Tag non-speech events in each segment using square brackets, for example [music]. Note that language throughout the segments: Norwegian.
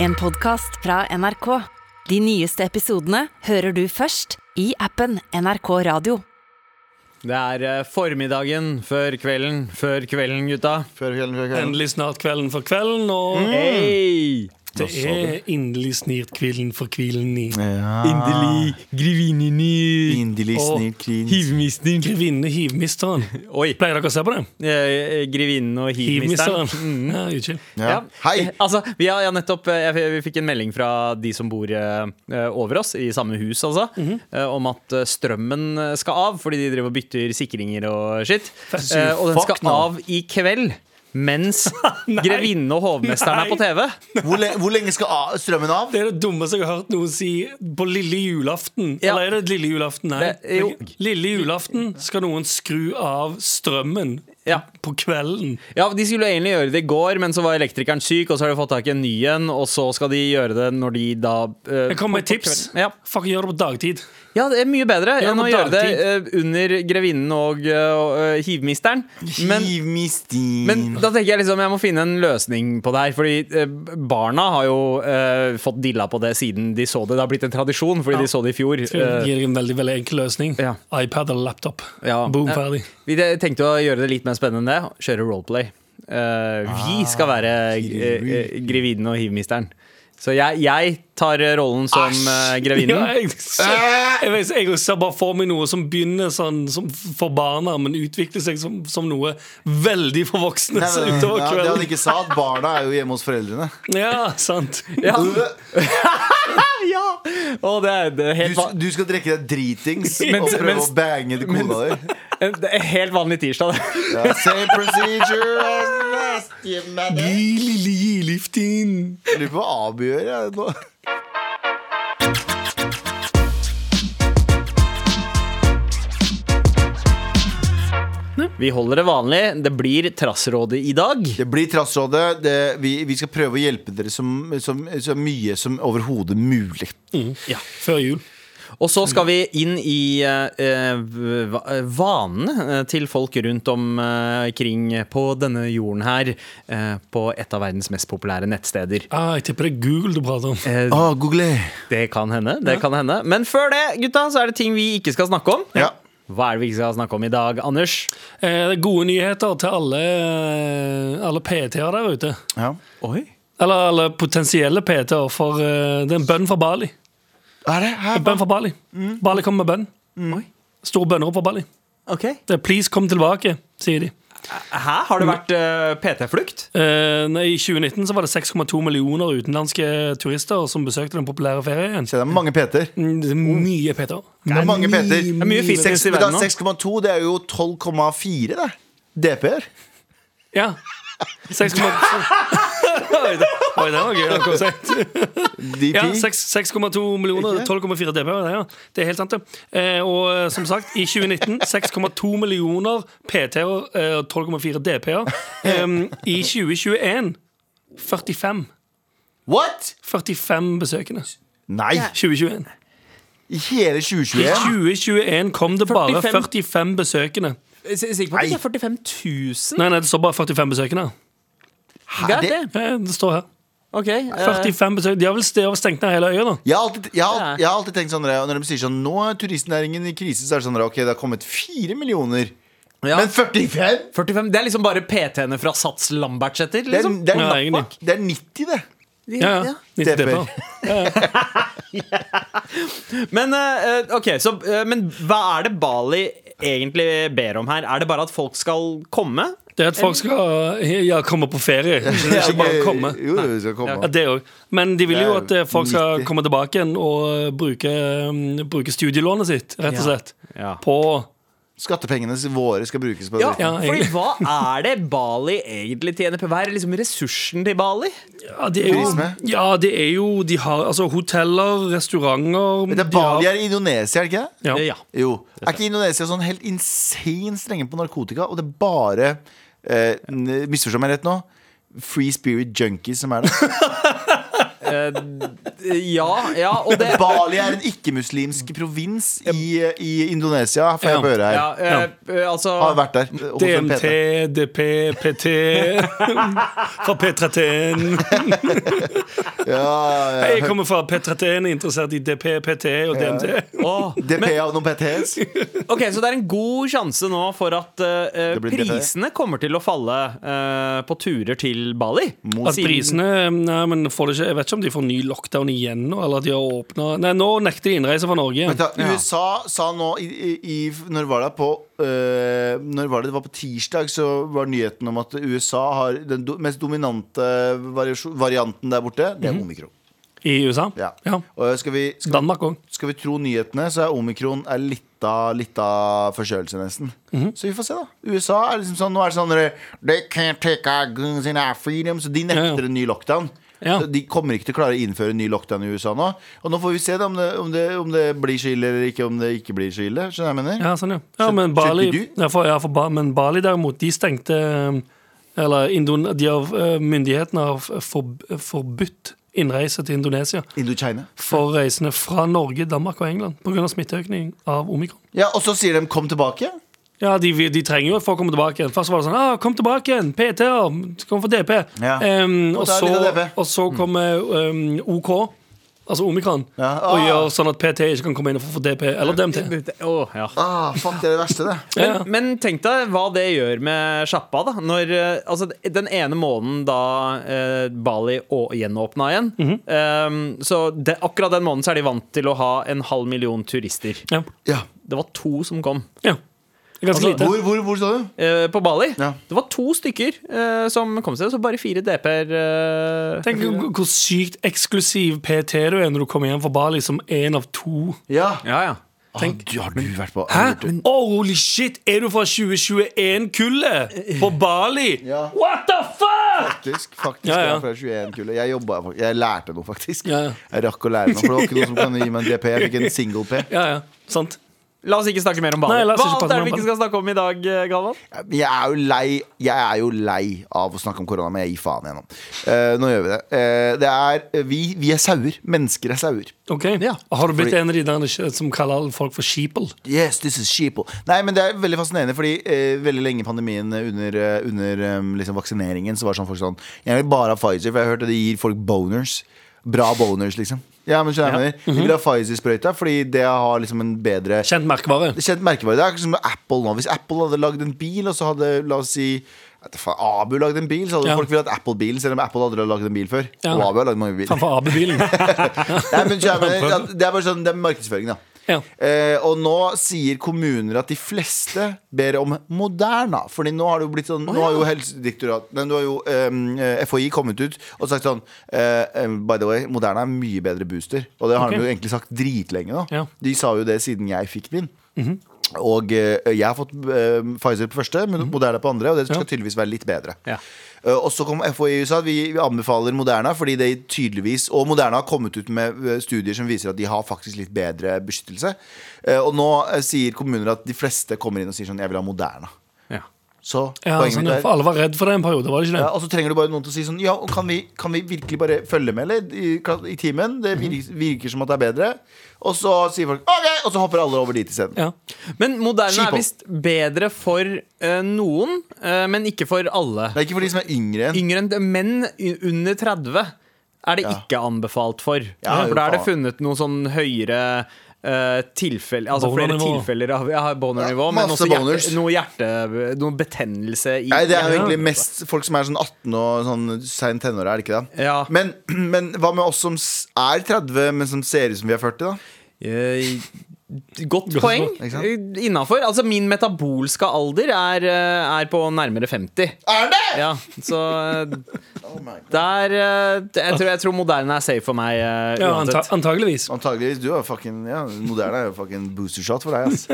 En podcast fra NRK. De nyeste episodene hører du først i appen NRK Radio. Det er eh, formiddagen før kvelden, før kvelden, gutta. Før kvelden, før kvelden. Endelig snart kvelden for kvelden, og Mm. Hei! det er endelig snart kvelden for kvelden i Endelig grevinneni Endelig Og snilt clean. hivmisten. Grevinne Hivmisteren. Oi. Pleier dere å se på det? eh, eh, Grevinnen og hivmisteren. Mm. Hivmisteren. Ja, utskill. Ja. Hei! Eh, Altså, vi har ja, nettopp eh, jeg, Vi fikk en melding fra de som bor eh, eh, over oss, i samme hus, altså, eh, om at eh, strømmen eh, skal av fordi de driver og bytter sikringer og skitt. Fy, Eh, og den fuck skal nå. av i kveld. Mens grevinnen og hovmesteren er på TV. Hvor, le hvor lenge skal a- strømmen av? Det er det dummeste jeg har hørt noen si på lille julaften. Ja. Eller er det lille julaften? Nei. Det- jo. Lille julaften skal noen skru av strømmen Ja. på kvelden. Ja, De skulle egentlig gjøre det i går, men så var elektrikeren syk. Og så har de fått tak i en ny en, og så skal de gjøre det når de da eh, Jeg kommer med et på- på tips. kvelden. Ja. Fuck, gjør det på dagtid. ja, det er mye bedre Ja, enn å på gjøre det dagtid. eh, under grevinnen og eh, hivmisteren. Men, Hivmistin. men da tenker jeg liksom jeg må finne en løsning på det her. Fordi eh, barna har jo eh, fått dilla på det siden de så det. Det har blitt en tradisjon fordi de så det i fjor. Gir Eh, deg en veldig veldig enkel løsning. Ja. iPad eller laptop. Ja. Boom, Eh, ferdig. Vi de- tenkte å gjøre det litt mer spennende enn det. Kjøre roleplay. Eh, vi skal være eh, eh, grevinen og hivmisteren. Så jeg, jeg tar eh, rollen som eh, Ja, grevinen. jeg, Ah! jeg, vet- jeg ser bare for meg noe som begynner sånn, som for barna, men utvikler seg som, som noe veldig for voksne Nei, nei, nei, utover ja, det han kvelden. ikke sa, at barna er jo hjemme hos foreldrene. Ja, sant. Ja. [laughs] Du, Ja! Og det er, det er helt, va- du skal drikke deg dritings Men- og prøve mens- å bange til kona di. en- det er helt vanlig tirsdag. det. [laughs] Ja, same procedure as last year, man. Gi lille julaften. Jeg Lurer på hva Abu gjør. Jeg, nå. Vi holder det vanlig. Det blir Trassrådet i dag. Det blir Trassrådet. Det, vi, vi skal prøve å hjelpe dere som, som, så mye som overhodet mulig. Mm, Før jul. Og så skal vi inn i eh, eh, va- eh, vanene eh, til folk rundt omkring på denne jorden her. eh, på et av verdens mest populære nettsteder. Ah, jeg tipper det er Google du prater om. Eh, Ah, Google. Det kan hende. det kan hende Men før det, gutta, så er det ting vi ikke skal snakke om. Ja. Hva er det vi ikke skal snakke om i dag, Anders? Eh, det er gode nyheter til alle, eh, alle PT-er der ute. ja. Oi Eller alle potensielle PT-er, for eh, det er en bønn fra Bali. Er det? Her? Bønn fra Bali. Mm. Bali kommer med bønn. Oi. Store bønner på Bali. Ok Det er 'please, kom tilbake', sier de. Hæ? Har det vært eh, PT-flukt? Eh, nei, I 2019 så var det 6,2 millioner utenlandske turister som besøkte den populære ferien. Se, det er mange Peter. Mm, det er Mye Peter. Oh. Det er mange Peter. Det er mye fitness Seks- i men da, verden nå. 6,2 det er jo 12,4 det. DP-er. Ja. [laughs] 6,2 Oi, det oi, det var gøy. det kom sent. DP. Ja, 6 6,2 millioner. 12,4 DP. det, Ja. Det er helt sant, det. Eh, og eh, som sagt, i 2019 6,2 millioner PT-er og eh, 12,4 DP-er. Em, I 2021 45. What?! 45 besøkende. Nei! 2021. I hele I 2021? 2021 kom det bare 45. 45 besøkende. Sikker på at det ikke er 45 000? Nei, nei, det står bare 45 besøkende. Hæ, det, Eh, Det står her. Ok eh, 45 besøkende. De har vel de har vel stengt ned hele øya, da. jeg, har alltid, jeg, har, jeg har alltid tenkt sånn Andrea, Når de sier sånn Nå er turistnæringen i krise, så er det sånn Ok, det har kommet fire millioner. Ja. Men 45?! 45, det er liksom bare PT-ene fra Sats Lambertseter? Det er, Liksom. det, er, Ja, egentlig. det er 90, det. Ja, ja. 90 DP. DP. Men, eh, eh, ok, så, eh, men hva er det Bali egentlig ber om her? Er det bare at folk skal komme? Det er at folk skal ja, komme på ferie. Ikke bare komme. Jo, jo, vi skal komme. Ja, det òg. Men de vil jo at eh, folk skal 90. komme tilbake igjen og eh, bruke, mm, bruke studielånet sitt, rett og Ja. slett, Ja. på Skattepengene våre skal brukes på det. Ja, Ja, fordi egentlig. hva er det Bali egentlig tjener på? Hva er liksom ressursen til Bali? ja, det er jo, Turisme. ja, det er jo De har altså hoteller, restauranter Men det er de har- Bali er i Indonesia, er det ikke? det? Ja. Ja. Jo. Er ikke Indonesia sånn helt insane strenge på narkotika? Og det er bare eh, n- Misforstå meg rett nå. Free spirit junkies som er det. Eh, ja, ja, og det Bali er en ikke-muslimsk provins i, i Indonesia, får jeg Ja. høre her. ja, eh, altså Har vært der. eh, hos en DMT, PT. DP, PT [laughs] Fra P31. Ja, ja. Jeg kommer fra P31, interessert i DP, PT og DMT. Åh, DP og noen PTs. Ok, Så det er en god sjanse nå for at eh, Det blir DP. prisene kommer til å falle eh, på turer til Bali. At prisene Nei, men får det ikke, Jeg vet ikke om de får ny lockdown igjen nå, eller at de har åpna Nei, nå nekter de innreise fra Norge igjen. Vent da, USA sa nå i, i, i, Når var det på øh, Når var det, det var på tirsdag Så var nyheten om at USA har Den do, mest dominante variasjon- varianten der borte Det er omikron I USA? ja. Og skal vi, skal, Danmark òg. skal vi tro nyhetene Så er omikron er litt av, litt av forkjølelse nesten Mhm. Så vi får se da USA er liksom sånn Nå er det sånn dere, They can't take our guns and our freedom Så de Ja, ja. nekter en ny lockdown Ja. De kommer ikke til å klare å innføre en ny lockdown i USA nå Og nå får vi se da om det, om det, om det blir så ille eller ikke Om det ikke blir så ille Skjønner du hva jeg mener? Ja, sånn, ja. ja Skjønte- men Bali, skjønte ja, for, ja, for ba, men Bali derimot, de stengte um, Eller Indon de har, uh, myndighetene har f- for, forbudt innreise til Indonesia Indochina. for reisende fra Norge, Danmark og England pga. smitteøkning av omikron. Ja, og så sier de 'kom tilbake'. Ja, de, de trenger jo folk å komme tilbake igjen. Først var det sånn ah, 'Kom tilbake igjen! PT-er! Kom for DP!' Ja. Em, Og og, da er så, det DP. og så kommer em, OK, altså omikron, Mm. Ja. og Ah. gjør sånn at PT ikke kan komme inn og få DP eller DMT. Åh, ja. Ah, fuck, det er det verste, det. Ja. Men, men tenk deg hva det gjør med sjappa. da Når, eh, altså, Den ene måneden da eh, Bali å- gjenåpna igjen Mhm. eh, Så det, akkurat den måneden så er de vant til å ha en halv million turister. Ja. Ja. Det var to som kom. ja. Det er Ganske Altså, lite. Hvor, hvor, hvor sa du? eh, på Bali. Ja. Det var to stykker eh, som kom seg, så bare fire DP-er. eh, Tenk hvor hvor sykt eksklusiv PT du er når du kommer hjem fra Bali som én av to. Ja. ja, ja. ah, du, har du vært på Hæ? Oh, holy shit! Er du fra 2021-kullet på Bali? Eh. Ja. What the fuck?! Faktisk, faktisk Ja, ja. jeg er fra 21-kullet. Jeg jobba faktisk. Jeg lærte noe, faktisk. Ja, ja. Jeg rakk å lære noe, for det var ikke noen som kan gi meg en DP. Jeg fikk [laughs] en single P. Ja, ja, sant. La oss ikke snakke mer om Bali. Nei, la oss Hva ikke annet er prate mer det vi om ikke skal snakke om i dag, eh, Galvan? Men Jeg er jo lei Jeg er jo lei av å snakke om korona, men jeg gir faen igjennom. Eh, nå gjør vi det. Eh, det er Vi, vi er sauer. Mennesker er sauer. Ok, Har du blitt fordi- en av de der som kaller alle folk for sheeple? Yes, this is sheeple Nei, men det er veldig fascinerende Fordi eh, veldig lenge i pandemien eh, Under, eh, under eh, liksom vaksineringen Så var det sånn folk sånn Jeg vil bare ha Pfizer For jeg har hørt at det gir folk boners Bra boners liksom Ja, men skjønner jeg Mhm. mener De vil ha Pfizer-sprøyta Fordi det har liksom en bedre Kjent [laughs] merkevare. Kjent merkevare Det er ikke som med Apple nå Hvis Apple hadde lagd en bil Og så hadde, la oss si vet du faen, Abu lagd en bil Så hadde Ja. folk ville hatt Apple-bilen Selv om Apple aldri hadde lagd en bil før Ja. Og Abu har lagd mange biler Framfor AB-bilen. Nei, men skjønner [laughs] jeg mener, at Det er bare sånn Det er markedsføring da Ja. Eh, og nå sier kommuner at de fleste ber om Moderna. Fordi nå har det jo blitt sånn Nå har jo Helsedirektoratet Nei, nå har jo ehm, eh, FHI kommet ut og sagt sånn eh, eh, By the way, Moderna er en mye bedre booster. Og det har Ok. de jo egentlig sagt dritlenge nå. Ja. Mhm. De sa jo det siden jeg fikk min. Og eh, jeg har fått eh, Pfizer på første, men Moderna på andre. Og det skal Mhm. Ja. tydeligvis være litt bedre. Ja. Eh, og så kom FHI ut sa at vi, vi anbefaler Moderna, fordi det tydeligvis Og Moderna har kommet ut med eh, studier som viser at de har faktisk litt bedre beskyttelse. Eh, og nå eh, sier kommuner at de fleste kommer inn og sier sånn Jeg vil ha Moderna. Ja. Så Ja, poenget sånn, mitt ja, er for alle var redd for det en periode, var det ikke ja, det? og så trenger du bare noen til å si sånn Ja, og kan vi, kan vi virkelig bare følge med, eller? I, i timen? Det Mhm. virker, virker som at det er bedre. Og så sier folk OK! Og så hopper alle over dit isteden. Ja. Men moderne er Sheeple. visst bedre for eh, noen, eh, men ikke for alle. Det er ikke for de som er yngre enn Yngre enn menn y- under 30 er det ikke anbefalt for. Ja, jo, for da er det faen. funnet noen sånn høyere eh, tilfeller Altså flere Bonernivå. tilfeller av ja, bonernivå, Ja, men masse også hjerte, boners. noe hjerte... Noe betennelse i Nei, det er jo hjertet. egentlig mest folk som er sånn 18 og sånn sein tenåra, er det ikke det? Ja. Men, men hva med oss som s- er 30, men som ser ut som vi er 40, da? Eh, Godt poeng. Ikke sant? Innafor. Altså, min metabolske alder er, eh, er på nærmere 50. Er det?! Ja, så eh, Oh der eh, Jeg tror, jeg tror moderne er safe for meg eh, Ja, anta uansett. antageligvis. Antageligvis. Du er jo fucking ja, moderne er jo fucking booster shot for [laughs] deg, ass.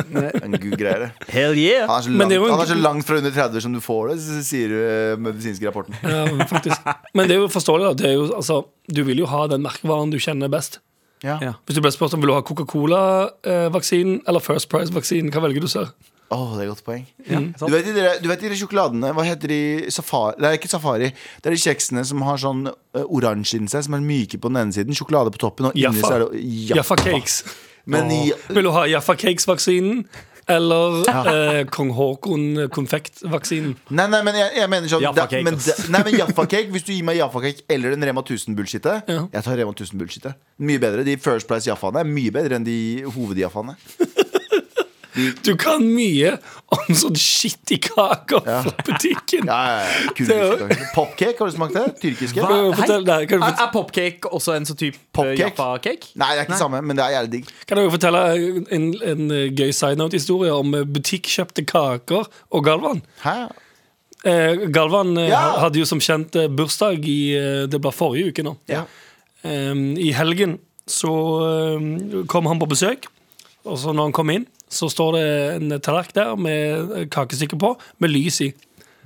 En gud greier det. Hell yeah! Han er, så Men langt, det er jo en- han er så langt fra under 30 som du får det, s- sier eh, medisinske rapporten. Ja, faktisk. Men det er jo forståelig. Da. Det er jo, altså, du vil jo ha den merkevaren du kjenner best. Ja. Ja. eh, Hvis du ble spurt om vil du ha Coca-Cola-vaksinen eller First Price-vaksinen, hva velger du, sir? Å, Åh, det er et godt poeng. sant. Mm. du, vet, de der- du vet de der sjokoladene Hva heter de? Safari Det er ikke safari. Det er de kjeksene som har sånn eh, oransje inni seg, som er myke på den ene siden, sjokolade på toppen, og inni så er Jaffa. det Jaffa Cakes. Men i, Vil du ha Jaffa Cakes-vaksinen eller eh, kong Haakon-konfektvvaksinen? nei, nei, men jeg, jeg mener sånn Jaffa da- cake, men, ass. da- Nei, men Jaffa cake Hvis du gir meg Jaffa cake eller den Rema 1000-bullshitet [laughs] Ja. Jeg tar Rema 1000-bullshitet. Mye bedre. De First Price Jaffaene er mye bedre enn de hovedjaffaene. Du kan mye om sånn skittig kaker Ja. fra butikken. Ja, ja, [laughs] ja. Det er Kurdiske kaker. Popcake, har du smakt det? Tyrkiske? Kan du Hei? Ah, fortelle- nei, kan, du Er, fort- er popcake også en sånn type Popcake? Jaffa-cake? Nei, det er ikke samme, men det er jævlig digg. kan jeg jo fortelle en, en eh, gøy side note-historie om eh, butikkjøpte kaker og Galvan? Hæ? Eh, Galvan eh, Ja! hadde jo som kjent eh, bursdag i eh, Det ble forrige uke nå. Ja. Ehm, I helgen så ehm, kom han på besøk, og så når han kom inn, så står det en tallerken der med kakestykke på, med lys i.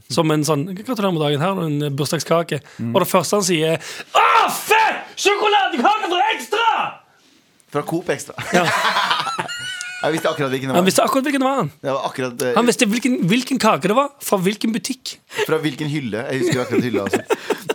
Som en sånn 'Gratulerer med dagen her', og en bursdagskake. Mm. Og det første han sier, Å, fett! Sjokoladekake for ekstra! Fra Coop Extra. Ja. Jeg visste akkurat hvilken det Han var. visste akkurat hvilken det var. han. Det var akkurat, eh, Han visste hvilken, hvilken kake det var, fra hvilken butikk. Fra hvilken hylle. Jeg husker akkurat hylla. Altså.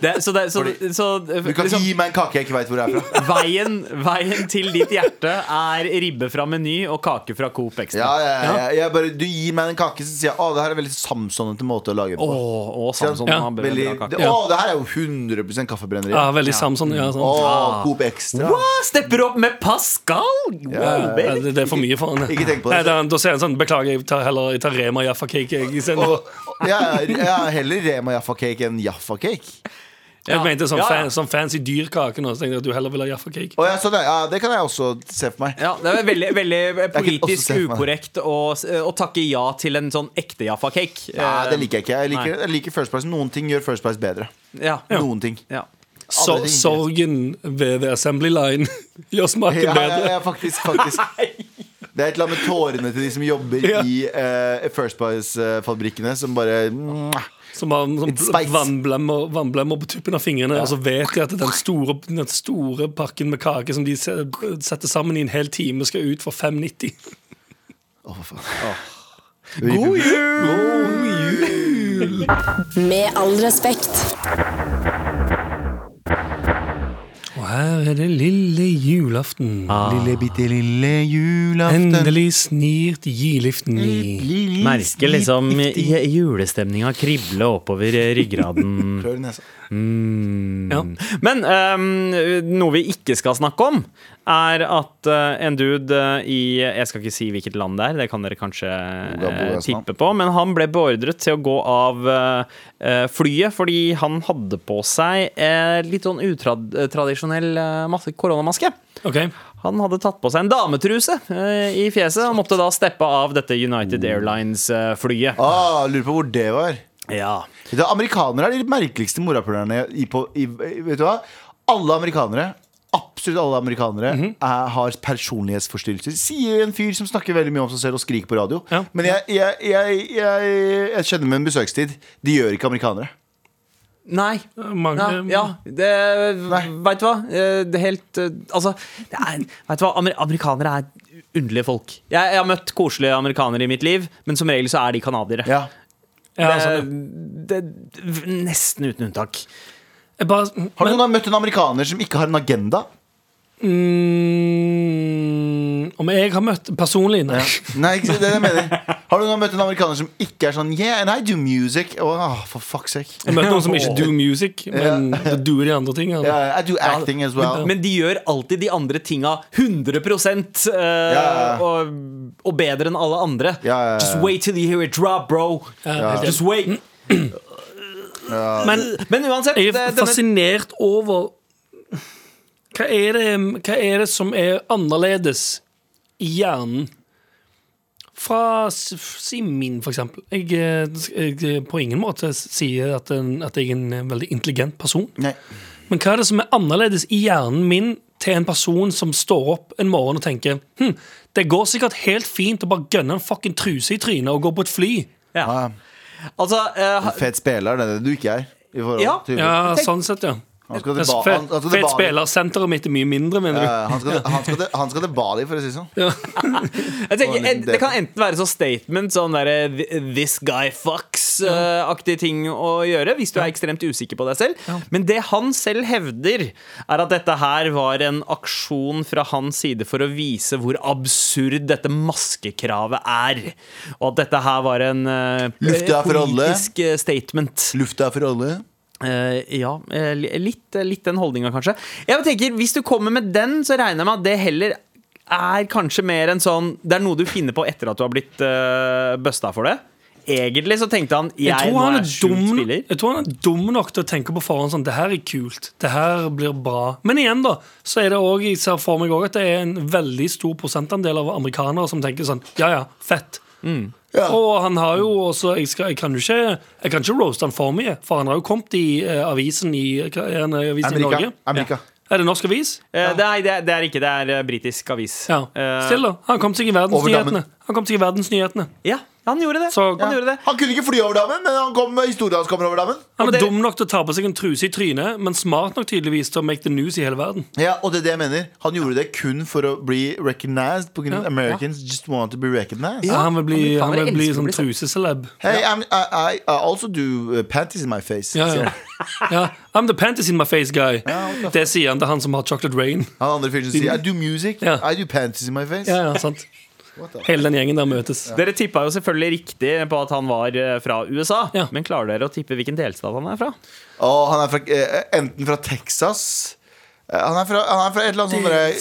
Det, så det, så, Fordi- så, Du kan ikke liksom, gi meg en kake jeg ikke veit hvor det er [laughs] fra. veien, veien til ditt hjerte er ribbe fra Meny og kake fra Coop Ja, Extra. ja, ja, jeg bare, du gir meg en kake, så sier jeg å, det her er veldig samsonnete måte å lage det Åh, på. og Samson Ja, har bra Veldig, kake. det, å, det her er jo 100 kaffebrenneri. Ja, veldig Samson. Ja, Å, sånn. Coop Extra. Wow, stepper opp med Pascal! Wow, ja, Ja, baby. det, det er for mye for han. Ikke tenk på det. Nei, da, da sier han sånn 'Beklager, jeg tar heller jeg tar Rema Jaffa-cake jeg, istedenfor'. Og, ja, jeg har heller Rema Jaffa-cake enn Jaffa-cake. Jeg Ja. mente sånn, Ja, ja. fan, sånn fancy dyrkake nå, så tenkte jeg at du heller vil ha Jaffa-cake. Å, ja, sånn, ja, det kan jeg også se for meg. Ja, det er veldig, veldig kan også politisk se for meg. ukorrekt å, eh, å takke ja til en sånn ekte Jaffa-cake. Eh, Nei, det liker jeg ikke. Jeg Nei. liker, jeg liker First Price. Noen ting gjør First Price bedre. Ja. Noen ting. Ja. Så, Aldri. sorgen ved The Assembly Line [laughs] gjør smaken Ja, ja, bedre. ja, faktisk, [laughs] faktisk. Det er et eller annet med tårene til de som jobber Ja. i eh, First Price-fabrikkene, som bare mwah. Som har en sånn It's spice. vannblemmer, vannblemmer på tuppen av fingrene. Og så vet de at den store, den store pakken med kake som de se- setter sammen i en hel time, skal ut for 5,90. Å, hva faen. God jul! Med all respekt. [laughs] Og her er det lille julaften. Lille bitte lille julaften. Endelig snirt giliften i. Lille Merker liksom bitte- julestemninga krible oppover rygggraden. Prøv altså. nesa. Mm. Ja. Men ehm, noe vi ikke skal snakke om, er at eh, en dude eh, i Jeg skal ikke si hvilket land det er, det kan dere kanskje eh, tippe på. Men han ble beordret til å gå av eh, eh, flyet fordi han hadde på seg eh, litt sånn utradisjonell eh, koronamaske. Ok, Han hadde tatt på seg en dametruse eh, i fjeset og måtte da steppe av dette United eh, Airlines-flyet. Ah, lurer på hvor det var. Ja. Vet du, amerikanere er de merkeligste morapulerne i, på- i, i Vet du hva? Alle amerikanere Absolutt alle amerikanere er, har personlighetsforstyrrelser. Sier en fyr som snakker veldig mye om seg selv og skriker på radio. Ja. Men jeg, jeg, jeg, jeg, jeg kjenner med en besøkstid. De gjør ikke amerikanere. Nei. Ja, mange, ja det, vet du hva? Eh, Det er helt eh, Altså, det er, vet du hva? Amer amerikanere er underlige folk. Jeg, jeg har møtt koselige amerikanere i mitt liv, men som regel så er de canadiere. Ja. Ja, sånn, det, det, nesten uten unntak. jeg bare, Har du noen gang møtt en amerikaner som ikke har en agenda? Mm, om jeg har møtt personlig Nei. Nei, ikke sant, det er det jeg mener Har du noen gang møtt en amerikaner som ikke er sånn Yeah, and I do music. Åh, for fuck's sake. Jeg har møtt noen som ikke do music, men det doer de andre altså. tingene. Ja, I do acting as well. Men de gjør alltid de andre tinga 100 eh, ja, ja. Og, og bedre enn alle andre. Ja, ja, ja. Just wait till you hear it drop, bro. Ja. Mm. Just wait. Men Men uansett, jeg det- er denne fascinert over hva er, det, hva er det som er annerledes i hjernen? Fra s- si min, for eksempel. Jeg, eh, jeg eh, på ingen måte sier at, en, at jeg er en eh, veldig intelligent person. Nei. Men hva er det som er annerledes i hjernen min til en person som står opp en morgen og tenker hm, det går sikkert helt fint å bare gønne en fucking truse i trynet og gå på et fly? Ah. ja. Altså, eh, Fet spiller, det er det du ikke er. I forhold Ja. til Ja, Tenk- sånn sett, ja. Han skal til, ba Fe- han, han skal til Fett Bali. spiller. Senteret mitt er mye mindre, mener Eh, du? han, skal, han, skal til, han skal til Bali, for å si det sånn. Jeg Og en tenker, liten eh, det kan enten være sånn statement, sånn derre "Th- 'this guy fucks'-aktig ting å gjøre, hvis du er ekstremt usikker på deg selv. Men det han selv hevder, er at dette her var en aksjon fra hans side for å vise hvor absurd dette maskekravet er. Og at dette her var en eh, Lufta for alle. politisk eh, statement. Lufta er for alle. Eh, ja, eh, li- litt, eh, litt den holdninga, kanskje. Jeg tenker, Hvis du kommer med den, så regner jeg med at det heller er kanskje mer en sånn Det er noe du finner på etter at du har blitt uh, busta for det. Egentlig så tenkte han Jeg, Jeg tror, nå han er er sjuk dum, spiller. jeg tror han er dum nok til å tenke på forhånd sånn Det her er kult. Det her blir bra. Men igjen, da, så er det også, jeg ser for meg også at det er en veldig stor prosentandel av amerikanere som tenker sånn Ja, ja, fett. Mm. Ja. Og han har jo også jeg, skal, jeg kan jo ikke Jeg kan ikke roaste han for mye, for han har jo kommet i eh, avisen i, hva er en avis i Amerika. Norge. Amerika. Er det norsk avis? Eh, det, er, det, er, det er ikke det. er eh, britisk avis. Ja. Eh, Still, da. Han kom seg i verdensnyhetene. Overdammen. Han kom seg i verdensnyhetene. ja, han gjorde det. Så- han gjorde det. Han kunne ikke fly over dammen, men han kom med historien hans kommer over dammen. Og Han er dere- dum nok til å ta på seg en truse i trynet, men smart nok tydeligvis til å make the news i hele verden. Ja, og det er det jeg mener. Han gjorde det kun for å bli recognized. På grunn av Ja. Americans just want to be recognized. Ja, han vil bli, amerikanere han vil bli elsker å sånn bli sett. truseceleb. Hey, I'm, I, I, I also do uh, panties in my face. Ja, ja. sier han. ja. I'm the panties in my face guy. Ja, what the Det sier han til han som har chocolate rain. Han andre fyren som sier I do music. Ja. I do panties in my face. Ja, ja, sant What the- Hele den gjengen der møtes. Dere tippa jo selvfølgelig riktig på at han var eh, fra USA. Ja. Men klarer dere å tippe hvilken delstat han er fra? Og han er fra, eh, enten fra Texas eh, han er, fra, han er fra et eller annet sånt derre-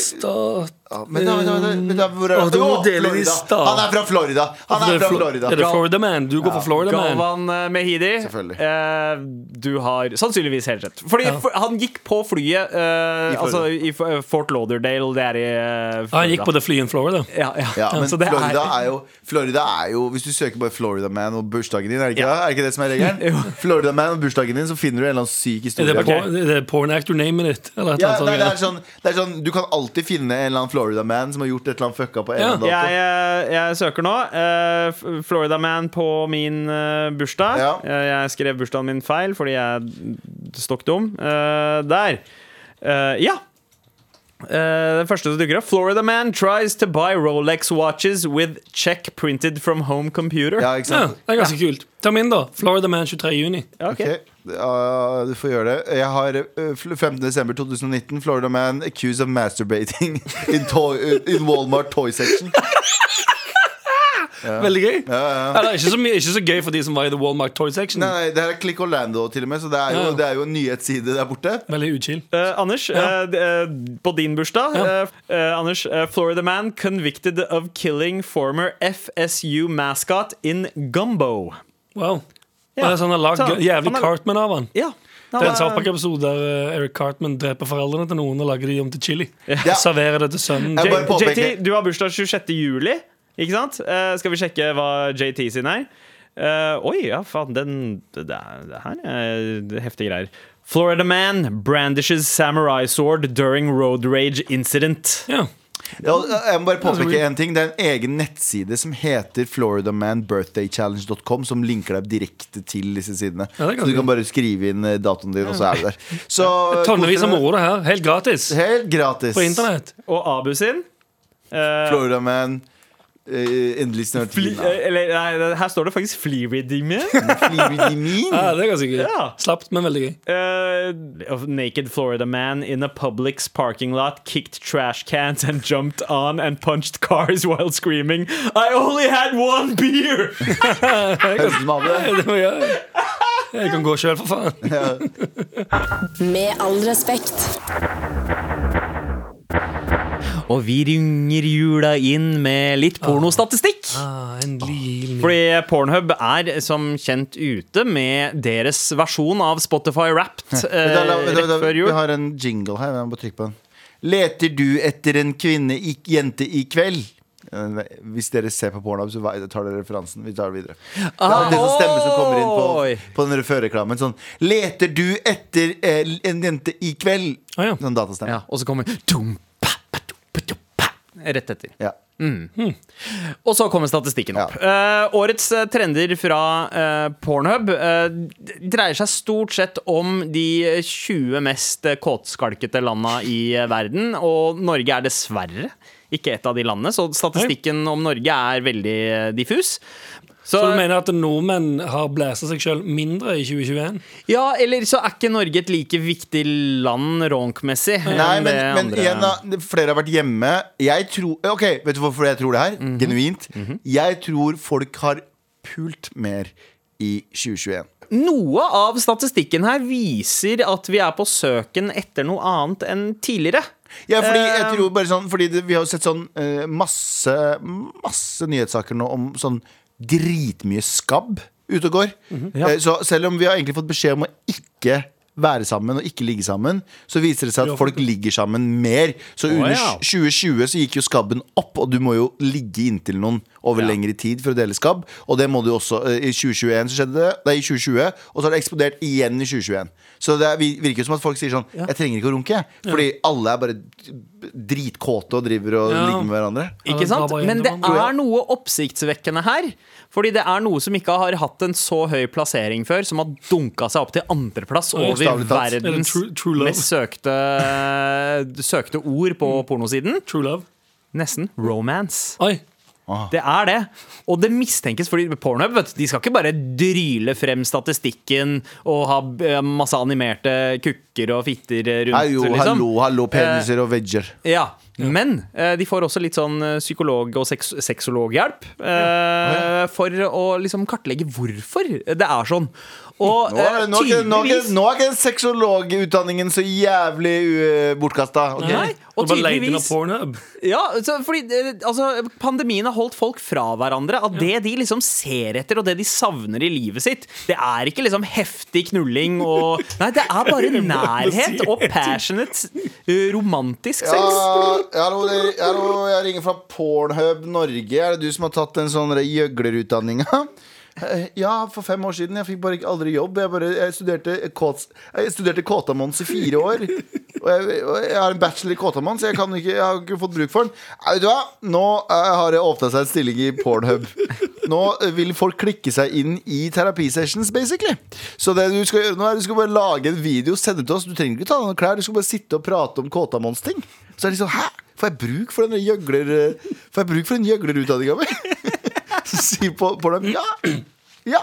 Stat Ja, Men da, men da, men da, men da, hvor er Åh, du må Åh, dele det i Florida. stad. Han er fra Florida! Han er fra Florida Er det Florida Man? Du går for Florida Man. Galvan eh, Mehidi, Selvfølgelig. eh, du har sannsynligvis helt rett. Fordi Ja. for, han gikk på flyet eh, I Florida. altså, i F- eh, Fort Lauderdale, det er i eh, Ah, han gikk på det flyet i Florida. Ja, ja. Ja, men Så det er- Florida er, jo, Florida er jo Hvis du søker bare Florida Man og bursdagen din, er det ikke, det? er det, ikke det som er [laughs] regelen? Florida Man og bursdagen din, så finner du en eller annen syk Er historie. det, por er det porn actor namet ditt? Eller et Ja, eller nei, det, er annet sånt? sånn, det er sånn Du kan alltid finne en eller annen Florida Man som har gjort et eller annet fucka på en Ja. eller annen dato. jeg, eh, jeg søker nå. eh, F- Florida Man på min eh, bursdag. Ja. Eh, jeg skrev bursdagen min feil fordi jeg er stokk dum. Eh, der. Eh, ja. Eh, den første som dukker opp. Florida Man tries to buy Rolex watches with check printed from home computer. Ja, ikke Ja, sant? det er ganske kult. Ta min, da. Florida Man 23. juni. Ja, ok. Ok, ja, du får gjøre det. Jeg har eh, fl- 15. desember 2019 Florida man accused of masturbating [laughs] in, toy, in Walmart toy section. Veldig gøy. Eller ikke så, mye, ikke så gøy for de som var i The Walmart Toy Section. Nei, nei, det her er Click Orlando, til og med, så det er jo, Ja. det er jo en nyhetsside der borte. Veldig uchill. Eh, Anders, eh, d- eh, på din bursdag Ja. eh, eh, Anders, eh, Florida man convicted of killing former FSU mascot in gumbo. Wow. Ja. Ja. sånn Han har lagd Så- g- jævlig han har- Cartman av han. Ja. Det er en South Park-episode der eh, Eric Cartman dreper foreldrene til noen og lager de om til chili. Og serverer det til sønnen. Jeg bare J- påpeker- JT, du har bursdag 26. juli, ikke sant? Eh, skal vi sjekke hva JT sin er? Eh, oi, ja, faen, den Det, er- det her er heftige greier. Florida man brandishes samurai sword during road rage incident. Ja. Ja, jeg må bare påpeke en ting. Det er en egen nettside som heter floridamanbirthdaychallenge.com, som linker deg direkte til disse sidene. Ja, det så er du ganske kan bare skrive inn eh, datoen din, og så er du der. Så, Tonnevis av moro, det her. Helt gratis. Helt gratis. På internett. Og Abu sin eh, Florida man eh, Endelig snart Fli, eh, eller, nei, det- her står det faktisk [laughs] flyredeemer. Ja, det er ganske gøy. Ja. Slapt, men veldig gøy. Uh, naked Florida man in a Publix parking lot kicked trash cans and jumped on and punched cars while screaming, I only had one beer! Høres ut som Abu. [laughs] Ja, [laughs] det var gøy. Jeg kan gå sjøl, for faen. Med all respekt. [laughs] Og vi ringer jula inn med litt pornostatistikk. Ah, en liten Fordi Pornhub er som kjent ute med deres versjon av Spotify [laughs] Wrapped eh, Vent da, la- vent da, rett vent da. før jul. Vi har en jingle her. Jeg må trykke på den. Leter du etter en kvinne i, jente i kveld? Eh, Hvis dere ser på Pornhub, så vei- tar dere referansen. Vi tar det videre. Det er alltid en sånn stemme som kommer inn oi. på, på den reklamen Sånn 'Leter du etter eh, en jente i kveld?' Ah, ja. Sånn datastemme. Ja, og så kommer Dum, pa, pa, dum, pa, dum, pa. Rett etter. Ja. Og så kommer statistikken opp. Eh, årets eh, trender fra eh, Pornhub eh, d- dreier seg stort sett om de 20 mest eh, kåtskalkete landa i eh, verden, og Norge er dessverre ikke et av de landene, så statistikken om Norge er veldig eh, diffus. Så, Så du mener at nordmenn har blæsa seg sjøl mindre i 2021? ja, eller så er ikke Norge et like viktig land ronkmessig. eh, Nei, enn men, det men andre- igjen da det- Flere har vært hjemme Jeg tror Ok, vet du hvorfor jeg tror det her? Mhm. Genuint Jeg tror folk har pult mer i 2021 Noe av statistikken her viser at vi er på søken etter noe annet enn tidligere. Ja, fordi jeg Eh, tror bare sånn Fordi det, vi har jo sett sånn eh, masse Masse nyhetssaker nå om sånn Dritmye skabb ute og går Mhm. Eh, Så selv om vi har egentlig fått beskjed om å ikke være sammen og ikke ligge sammen Så viser det seg at folk ligger sammen mer Så under ja. 2020 så gikk jo skabben opp Og du må jo ligge inntil noen over lengre tid for å dele skabb Og det må du også eh, I 2021 så skjedde det Det er i 2020 Og så har det eksplodert igjen i 2021 Så det er, vi- virker jo som at folk sier sånn Jeg trenger ikke å runke Fordi alle er bare dritkåte og driver og Ja. ligger med hverandre Ikke sant? Men det er noe oppsiktsvekkende her. Fordi det er noe som ikke har hatt en så høy plassering før, som har dunka seg opp til andreplass over Bokstavelig talt. verdens Eller true- true love. mest søkte, [laughs] søkte ord på pornosiden. True love. Nesten romance. Oi. Det er det. Og det mistenkes fordi Pornhub vet, du, de skal ikke bare dryle frem statistikken og ha eh, masse animerte kukker og fitter rundt. Nei, jo, liksom. hallo, hallo, peniser og vegger Ja, Men eh, de får også litt sånn eh, psykolog- og seks sexologhjelp eh, for å liksom kartlegge hvorfor det er sånn. Og Nå er, eh, nå, er ikke- nå, er ikke- tydeligvis nå er ikke seksologutdanningen så jævlig uh, bortkasta ok? Nei, og Og bare leid inn av tydeligvis Pornhub. Ja, så, fordi eh, altså, Pandemien har holdt folk fra hverandre. At det de liksom ser etter, og det de savner i livet sitt, det er ikke liksom heftig knulling og Nei, [laughs] det er bare nærhet og passionate, eh, romantisk sex. Ja, hallo, det- hallo, jeg ringer fra Pornhub Norge. Er det du som har tatt den sånn gjøglerutdanninga? Eh, Ja, for fem år siden. Jeg fikk bare ikke- aldri jobb. Jeg, bare, jeg studerte, kåts, jeg studerte Kåtamons i fire år. Og jeg, og jeg har en bachelor i Kåtamons, så jeg, kan ikke, jeg har ikke fått bruk for den. Nei, Vet du hva? Nå eh, har det åpna seg en stilling i Pornhub. Nå eh, vil folk klikke seg inn i terapisessions, basically. Så det du skal gjøre nå, er du skal bare lage en video, sende den til oss. Du trenger ikke ta av deg noen klær, du skal bare sitte og prate om Kåtamons-ting. Så er det liksom, hæ? Får jeg bruk for den gjøgler Får jeg bruk for den gjøglerutdanninga mi? [laughs] Så sier på, på dem ja. Ja.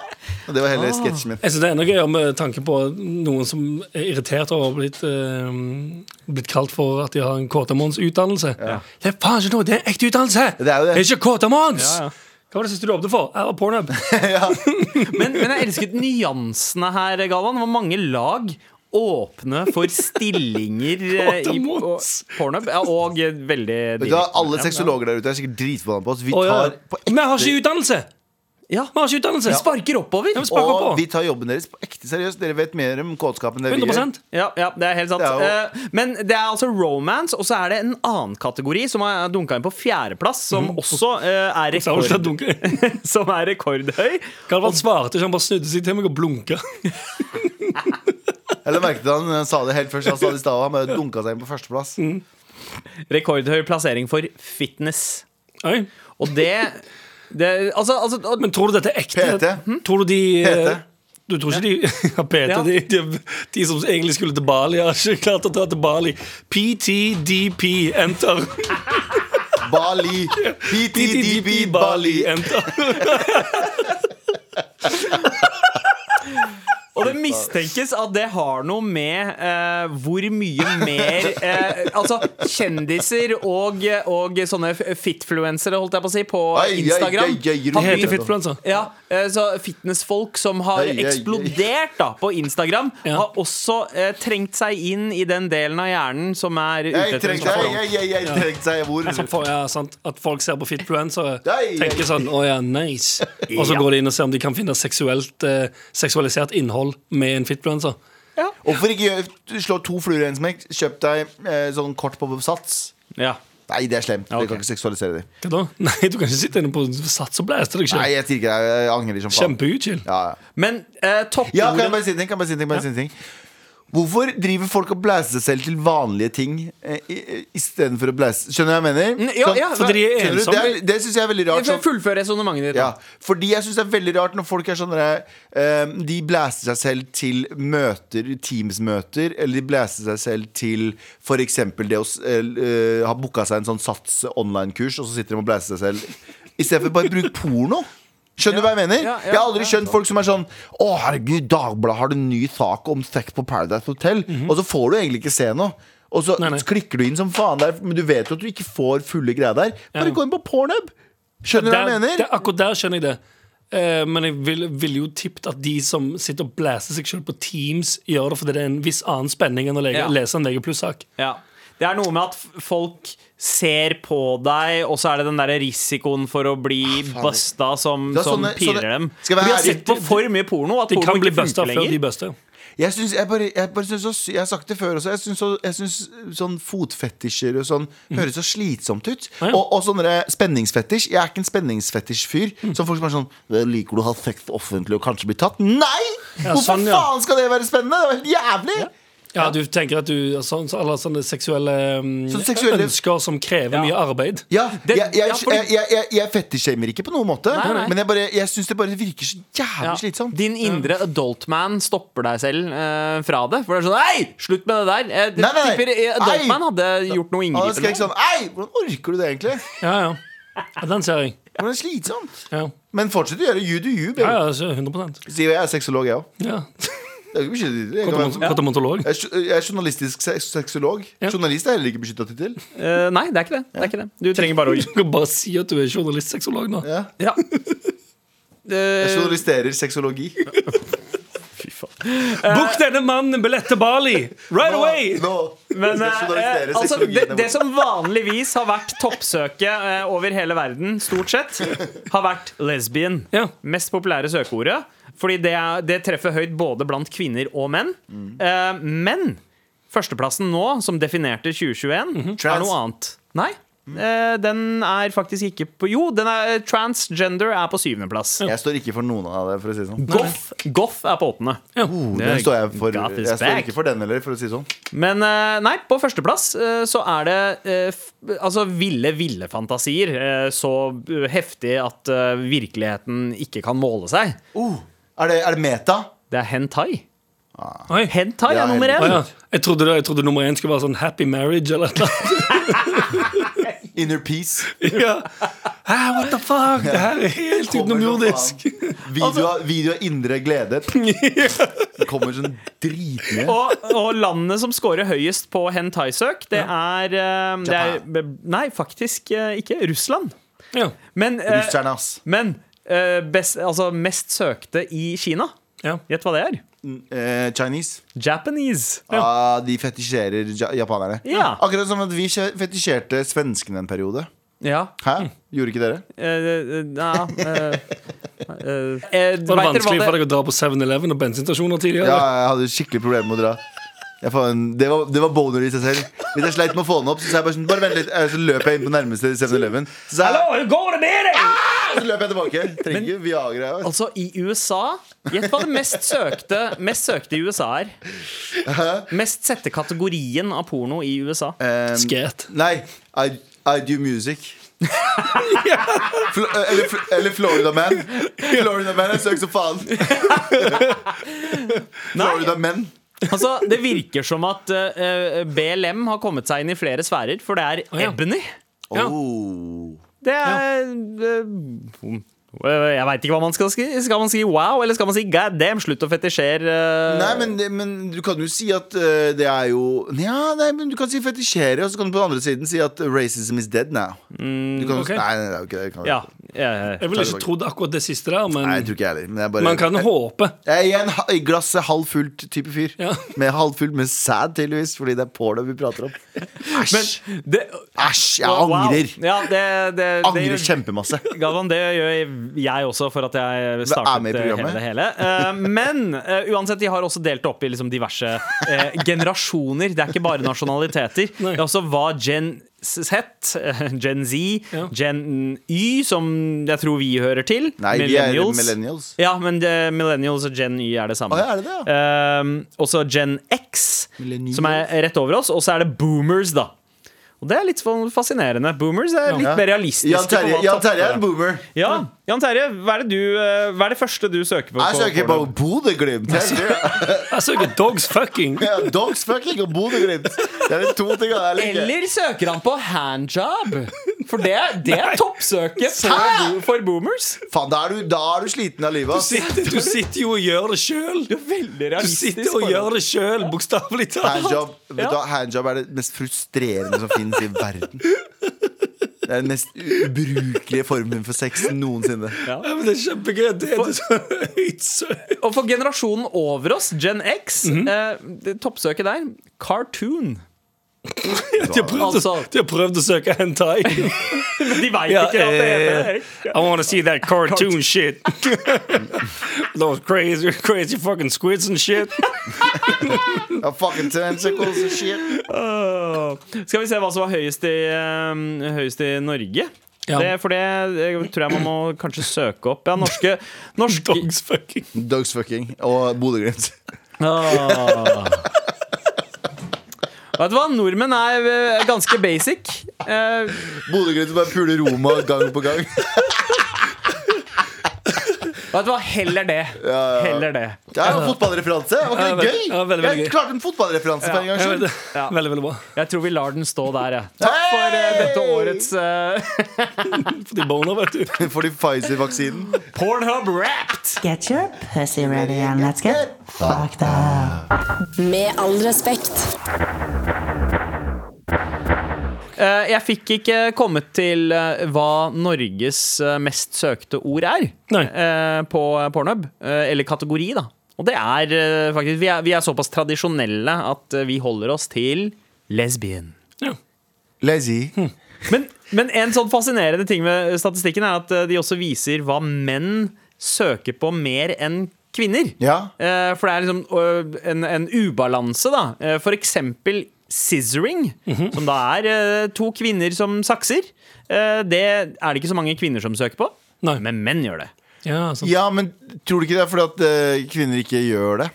Og det var hele sketsjen min. Jeg synes Det er enda gøyere med tanke på noen som er irritert over å ha blitt, eh, blitt kalt for at de har en Kåtamons-utdannelse. Det er faen ikke noe! Det er en ekte utdannelse! Det er jo det. ikke Kåtamons! Ja, ja. Hva var det siste du åpnet for? Jeg var Pornhub. Men, men jeg elsket nyansene her, Galvan. Det var mange lag. Åpne for stillinger eh, i på- Kåtamons. Pornhub. Ja, og eh, veldig Vet du hva, direkte. alle sexologer der ute er sikkert dritforbanna på oss. Vi Å, ja. tar på Men jeg har ekte ikke utdannelse! Ja, Vi har ikke utdannelse! Spark! Sparker oppover. Ja, men spark opp Og på. vi tar jobben deres på ekte seriøst. Dere vet mer om kåtskap enn det vi gjør. 100 Ja, ja, det er helt sant. Det er jo- Eh, Men det er altså romance, og så er det en annen kategori som har dunka inn på fjerdeplass, som også eh, er, Sa hun ikke at rekord, dunker? [laughs] [laughs] som er rekordhøy. Galvan svarte ikke, han bare snudde seg til meg og blunka. [laughs] Eller merket han, han sa det helt først. Han sa det i stad, og han bare dunka seg inn på førsteplass. Rekordhøy plassering for fitness. Oi. Og det, det altså, altså, og- Men tror du dette er ekte? PT. Hm? Tror du de PT. Du tror ikke de [laughs] ja, PT, Ja. de, de, de som egentlig skulle til Bali, har ikke klart å dra til Bali. PTDP, [laughs] enter. Bali. PTDB Bali. [laughs] enter. Og det mistenkes at det har noe med eh, hvor mye mer eh, Altså, kjendiser og, og sånne f- fitfluensere, holdt jeg på å si, på Ai, ai, Instagram ai, ai, ai, De har heter begynt- Fitfluencer. ja, eh, så Fitnessfolk som har Ai, ai, ai. eksplodert da på Instagram, Ja. har også eh, trengt seg inn i den delen av hjernen som er ute Jeg etter en trengte slags jeg, form. jeg, jeg, jeg trengte seg hvor? Som Altså, for, ja, sant, at folk ser på fitfluensere, Nei, tenker sånn Å ja, [laughs] nice. Og så går de inn og ser om de kan finne seksuelt, eh, seksualisert innhold med en fitfluenser. Hvorfor ikke gjøre- slå to fluer i en smekk? Kjøp deg eh, sånn kort på sats. Ja. Nei, det er slemt. ok. Jeg kan ikke seksualisere det. Hva da? [laughs] Nei, du kan ikke sitte inne på Sats og blæste deg Nei, sjøl. jeg sier ikke det. Jeg angrer som faen. Kjempeutchill. Ja, ja. Men eh, ja, kan jeg toppordet bare si en ting? Kan jeg bare si en ting, bare si en ting? Hvorfor driver folk og blæser seg selv til vanlige ting eh, i- istedenfor å blæse Skjønner du hva jeg mener? Mm, ja, Sånn- ja, Så de er Skjønner du? ensomme? Det, er- det syns jeg er veldig rart. sånn- Fullfør resonnementet ditt. ja, fordi jeg syns det er veldig rart når folk er sånn der, eh, De blæser seg selv til møter, Teams-møter, eller de blæser seg selv til f.eks. det å s- eh, ha booka seg en sånn Sats online-kurs, og så sitter de og blæser seg selv. Istedenfor bare bruk porno. Skjønner du hva jeg mener? ja, ja, jeg har aldri ja. skjønt folk som er sånn Å, herregud, Dagbladet har en ny sak om sex på Paradise Hotel. Og så får du egentlig ikke se noe. Og så Mhm. Nei, nei. klikker du inn som faen der, men du vet jo at du ikke får fulle greier der. Bare Ja. gå inn på Pornhub. Skjønner du hva jeg Der- mener? der- akkurat der skjønner jeg det. Eh, men jeg ville vil jo tippet at de som sitter og blæser seg selv på Teams, gjør det fordi det er en viss annen spenning enn å lege, Ja. lese en VG sak Ja. Det er noe med at f- folk ser på deg, og så er det den der risikoen for å bli busta som, Ah, Det er som sånne- pirer sånne- dem. Skal jeg være Vi har ærlig? sett på for mye porno at De porno kan bli ikke busta funker før de lenger. buster. Jeg, synes, jeg, bare, jeg, bare synes så, sy- jeg har sagt det før også. Jeg syns så, jeg synes sånn fotfetisjer og sånn Mm. høres så slitsomt ut. ja. Og, og sånn der spenningsfetisj. Jeg er ikke en spenningsfetisj-fyr. Mm. Som folk som er sånn «Vel, Liker du å ha sex offentlig og kanskje bli tatt? Nei! Ja, Hvorfor sånn, ja. faen skal det være spennende? Det var helt jævlig! Ja, du tenker at du sånn, så Alle sånne seksuelle, mm, Sånne seksuelle- ønsker som krever Ja. mye arbeid. Ja, Det- jeg, jeg, ja, fordi- jeg, jeg, jeg, jeg fetisjshamer ikke på noen måte, Nei, nei. men jeg, bare- jeg syns det bare virker så jævlig Ja. slitsomt. Din indre adult man stopper deg selv eh, fra det. For det er sånn Hei, slutt med det der! Eh, det Nei, nei, nei. tipper eh, adult Ei! man hadde gjort noe Ja, da skal inngripende. jeg ikke sånn Ei, hvordan orker du det egentlig? Ja, ja. ja den ser jeg. Hvordan er det slitsomt? Ja, Men fortsett å gjøre you do you, ja, baby. ja så 100 Sier jeg er sexolog, jeg òg. ja. Jeg er ikke bekymret. Jeg kan være- Katamontolog. Jeg er jo- jeg er journalistisk se- sexolog. Ja. Journalist er heller ikke beskytta tittel. Eh, nei, det er ikke det. det, er ikke det. Du trenger bare å Du kan bare si at du er journalistsexolog nå. Ja. [laughs] ja. Jeg Eh, journalisterer sexologi. Bok denne mannen billett til Bali! Right away! Nå, Men skal jeg eh, journalistere altså, sexologien det, der det borte. som vanligvis har vært toppsøket eh, over hele verden, stort sett, har vært lesbian. Ja. Mest populære søkeordet. Fordi det, er, det treffer høyt både blant kvinner og menn. Eh, men førsteplassen nå, som definerte 2021, er Trans. noe annet. Nei. eh, den er faktisk ikke på Jo, den er, eh, transgender er på syvendeplass. Jeg står ikke for noen av det, for å si det sånn. Goff, goff er på åttende. Oh, den står jeg, for, God is jeg står back. ikke for den heller, for å si det sånn. Men eh, nei, på førsteplass eh, så er det eh, f altså ville, ville fantasier. eh, så eh, heftig at eh, virkeligheten ikke kan måle seg. Oh, er, det, er det meta? Det er hentai. Oi. Hentai Ja, er nummer Å, én. ja. jeg, trodde det, jeg trodde nummer én skulle være sånn happy marriage eller noe. Inner peace. [laughs] ja. Hæ, what the fuck? Det her er Kommer helt som utenomjordisk. Altså- faen. Video av video av indre [laughs] glede. Det kommer sånn dritmye. Og, og landene som scorer høyest på hentai-søk, det er, eh, det er Nei, faktisk eh, ikke. Russland. [laughs] Ja. Men, eh, Russerne, ass. men eh, best, altså mest søkte i Kina. Ja. Gjett hva det er. Eh, Chinese. Japanese. Ah, de fetisjerer ja- japanerne. Ja. Akkurat som at vi fetisjerte svenskene en periode. Ja. Hæ? Gjorde ikke dere? Eh, eh, ja, eh, eh, eh, vet Var det dere hva vanskelig det- for deg å dra på 7-Eleven og bensinstasjoner tidligere? Ja, jeg hadde skikkelig problemer med å dra. Jeg faen, det, var, det var boner i seg selv. Hvis jeg sleit med å få den opp, så sa jeg bare sånn Bare vent litt. eh, Så løp jeg inn på nærmeste 7-Eleven. Så, sa jeg- Hallo, går det med deg? så løp jeg tilbake. Trenger ikke Viagra. jeg vet. Altså, i USA Gjett hva det mest søkte Mest søkte i USA er. Mest sette kategorien av porno i USA. Eh, Sket. nei, I, I do music. Fl eller, fl- eller Florida Man. Florida Man er søkt som faen. Florida Men. Altså, Det virker som at eh, eh, BLM har kommet seg inn i flere sfærer, for det er ja. Ebony. Ja. Oh. Det er eh, Jeg veit ikke hva man skal si. Skal man si wow, eller skal man si god damn, slutt å fetisjere? eh, Nei, men, det- men du kan jo si at eh, det er jo Ja, nei, men du kan si fetisjere, og så kan du på den andre siden si at racism is dead now. Du kan jo si- ok. Nei, nei, det er jo ikke det. det. Kan vi Mm, Ja. ikke. eh, Jeg ville ikke trodd akkurat det siste der, Nei, jeg men tror ikke jeg heller. Men jeg, bare, man kan jeg, håpe. jeg er en ha- i glasset halvfullt type fyr. Ja. [laughs] Med halvfullt med sæd, tydeligvis, fordi det er porno vi prater [laughs] om. Æsj! det, Æsj, jeg wow. angrer. Ja, det, det, det, Angrer kjempemasse. Galvan, det gjør jeg også for at jeg Er med startet i eh, hele programmet. det hele. Eh, Men eh, uansett, de har også delt opp i liksom diverse eh, generasjoner. Det er ikke bare nasjonaliteter. Det er også hva gen Z, eh, Gen Z, Ja. Gen Y, som jeg tror vi hører til. Nei, vi er millennials. Ja, men eh, millennials og Gen Y er det samme. Å, ja, er det det, Ehm, også Gen X, som er rett over oss. Og så er det boomers, da. Og det er litt sånn fascinerende. Boomers er litt mer realistiske. Jan Terje, på hva Jan topp- Terje er en boomer. Ja, Jan Terje, hva er det, du, eh, hva er det første du søker på? Jeg på søker på porno? [laughs] Bodø-Glimt. Jeg sier- Jeg søker dogs fucking. Ja, Dogs fucking og Bodø-Glimt. Det er de to tingene jeg liker. Eller søker han på handjob? For det, det er toppsøket for, bo- for boomers. Faen, da er du, da er du sliten av livet. Du ass. sitter, du sitter jo og gjør det sjøl. Det er veldig Du realistisk. sitter og forhold. gjør det sjøl, bokstavelig talt. Handjob, vet du, hva, handjob er det mest frustrerende som finnes i verden. Det er den mest ubrukelige formen for sex noensinne. Ja, men det er kjempegøy. Det er så høyt sø- Og for generasjonen over oss, Gen X, Mhm. eh, det toppsøket der, cartoon. [laughs] De har prøvd, å, Altså- de har prøvd å søke hentai. De veit [laughs] Ja, ikke at det heter eh, I wanna see that cartoon [laughs] shit. Those crazy, crazy fucking squids and shit. Ja, fucking tentacles and shit. Åh. Skal vi se hva som var høyest i, eh, høyest i Norge? Ja. Det, for det, det tror jeg man må kanskje søke opp. Ja, norske, norske Dogs fucking. Dogs fucking og Bodø-Glimt. Åh. Vet du hva? Nordmenn er eh, ganske basic. Eh, Bodø-Glimt bare puler Roma gang på gang. vet du hva? Heller det. Heller det. Det er jo en fotballreferanse. Det Var Ja, ikke vel- det gøy? ja, veldig, veldig Jeg gøy. klarte en fotballreferanse for en gangs Ja, skyld. veldig, veldig, veldig bra. Jeg tror vi lar den stå der, jeg. Takk for eh, dette årets eh, [laughs] For de boner, vet du. For de Pfizer-vaksinen. Pornhub Wrapped! Get your pussy ready and let's get fucked up. Med all respekt. Eh, jeg fikk ikke kommet til eh, hva Norges eh, mest søkte ord er Nei. eh, på Pornhub. eh, eller kategori, da. Og det er eh, faktisk vi er, vi er såpass tradisjonelle at eh, vi holder oss til lesbian. Lazy. Men, men en sånn fascinerende ting med statistikken er at eh, de også viser hva menn søker på mer enn kvinner. Ja. Eh, For det er liksom ø, en, en ubalanse, da. Eh, For eksempel scissoring, som da er eh, to kvinner som sakser. Eh, Det er det ikke så mange kvinner som søker på, Nei. men menn gjør det. Ja, sånn. sant. Ja, men tror du ikke det er fordi at eh, kvinner ikke gjør det?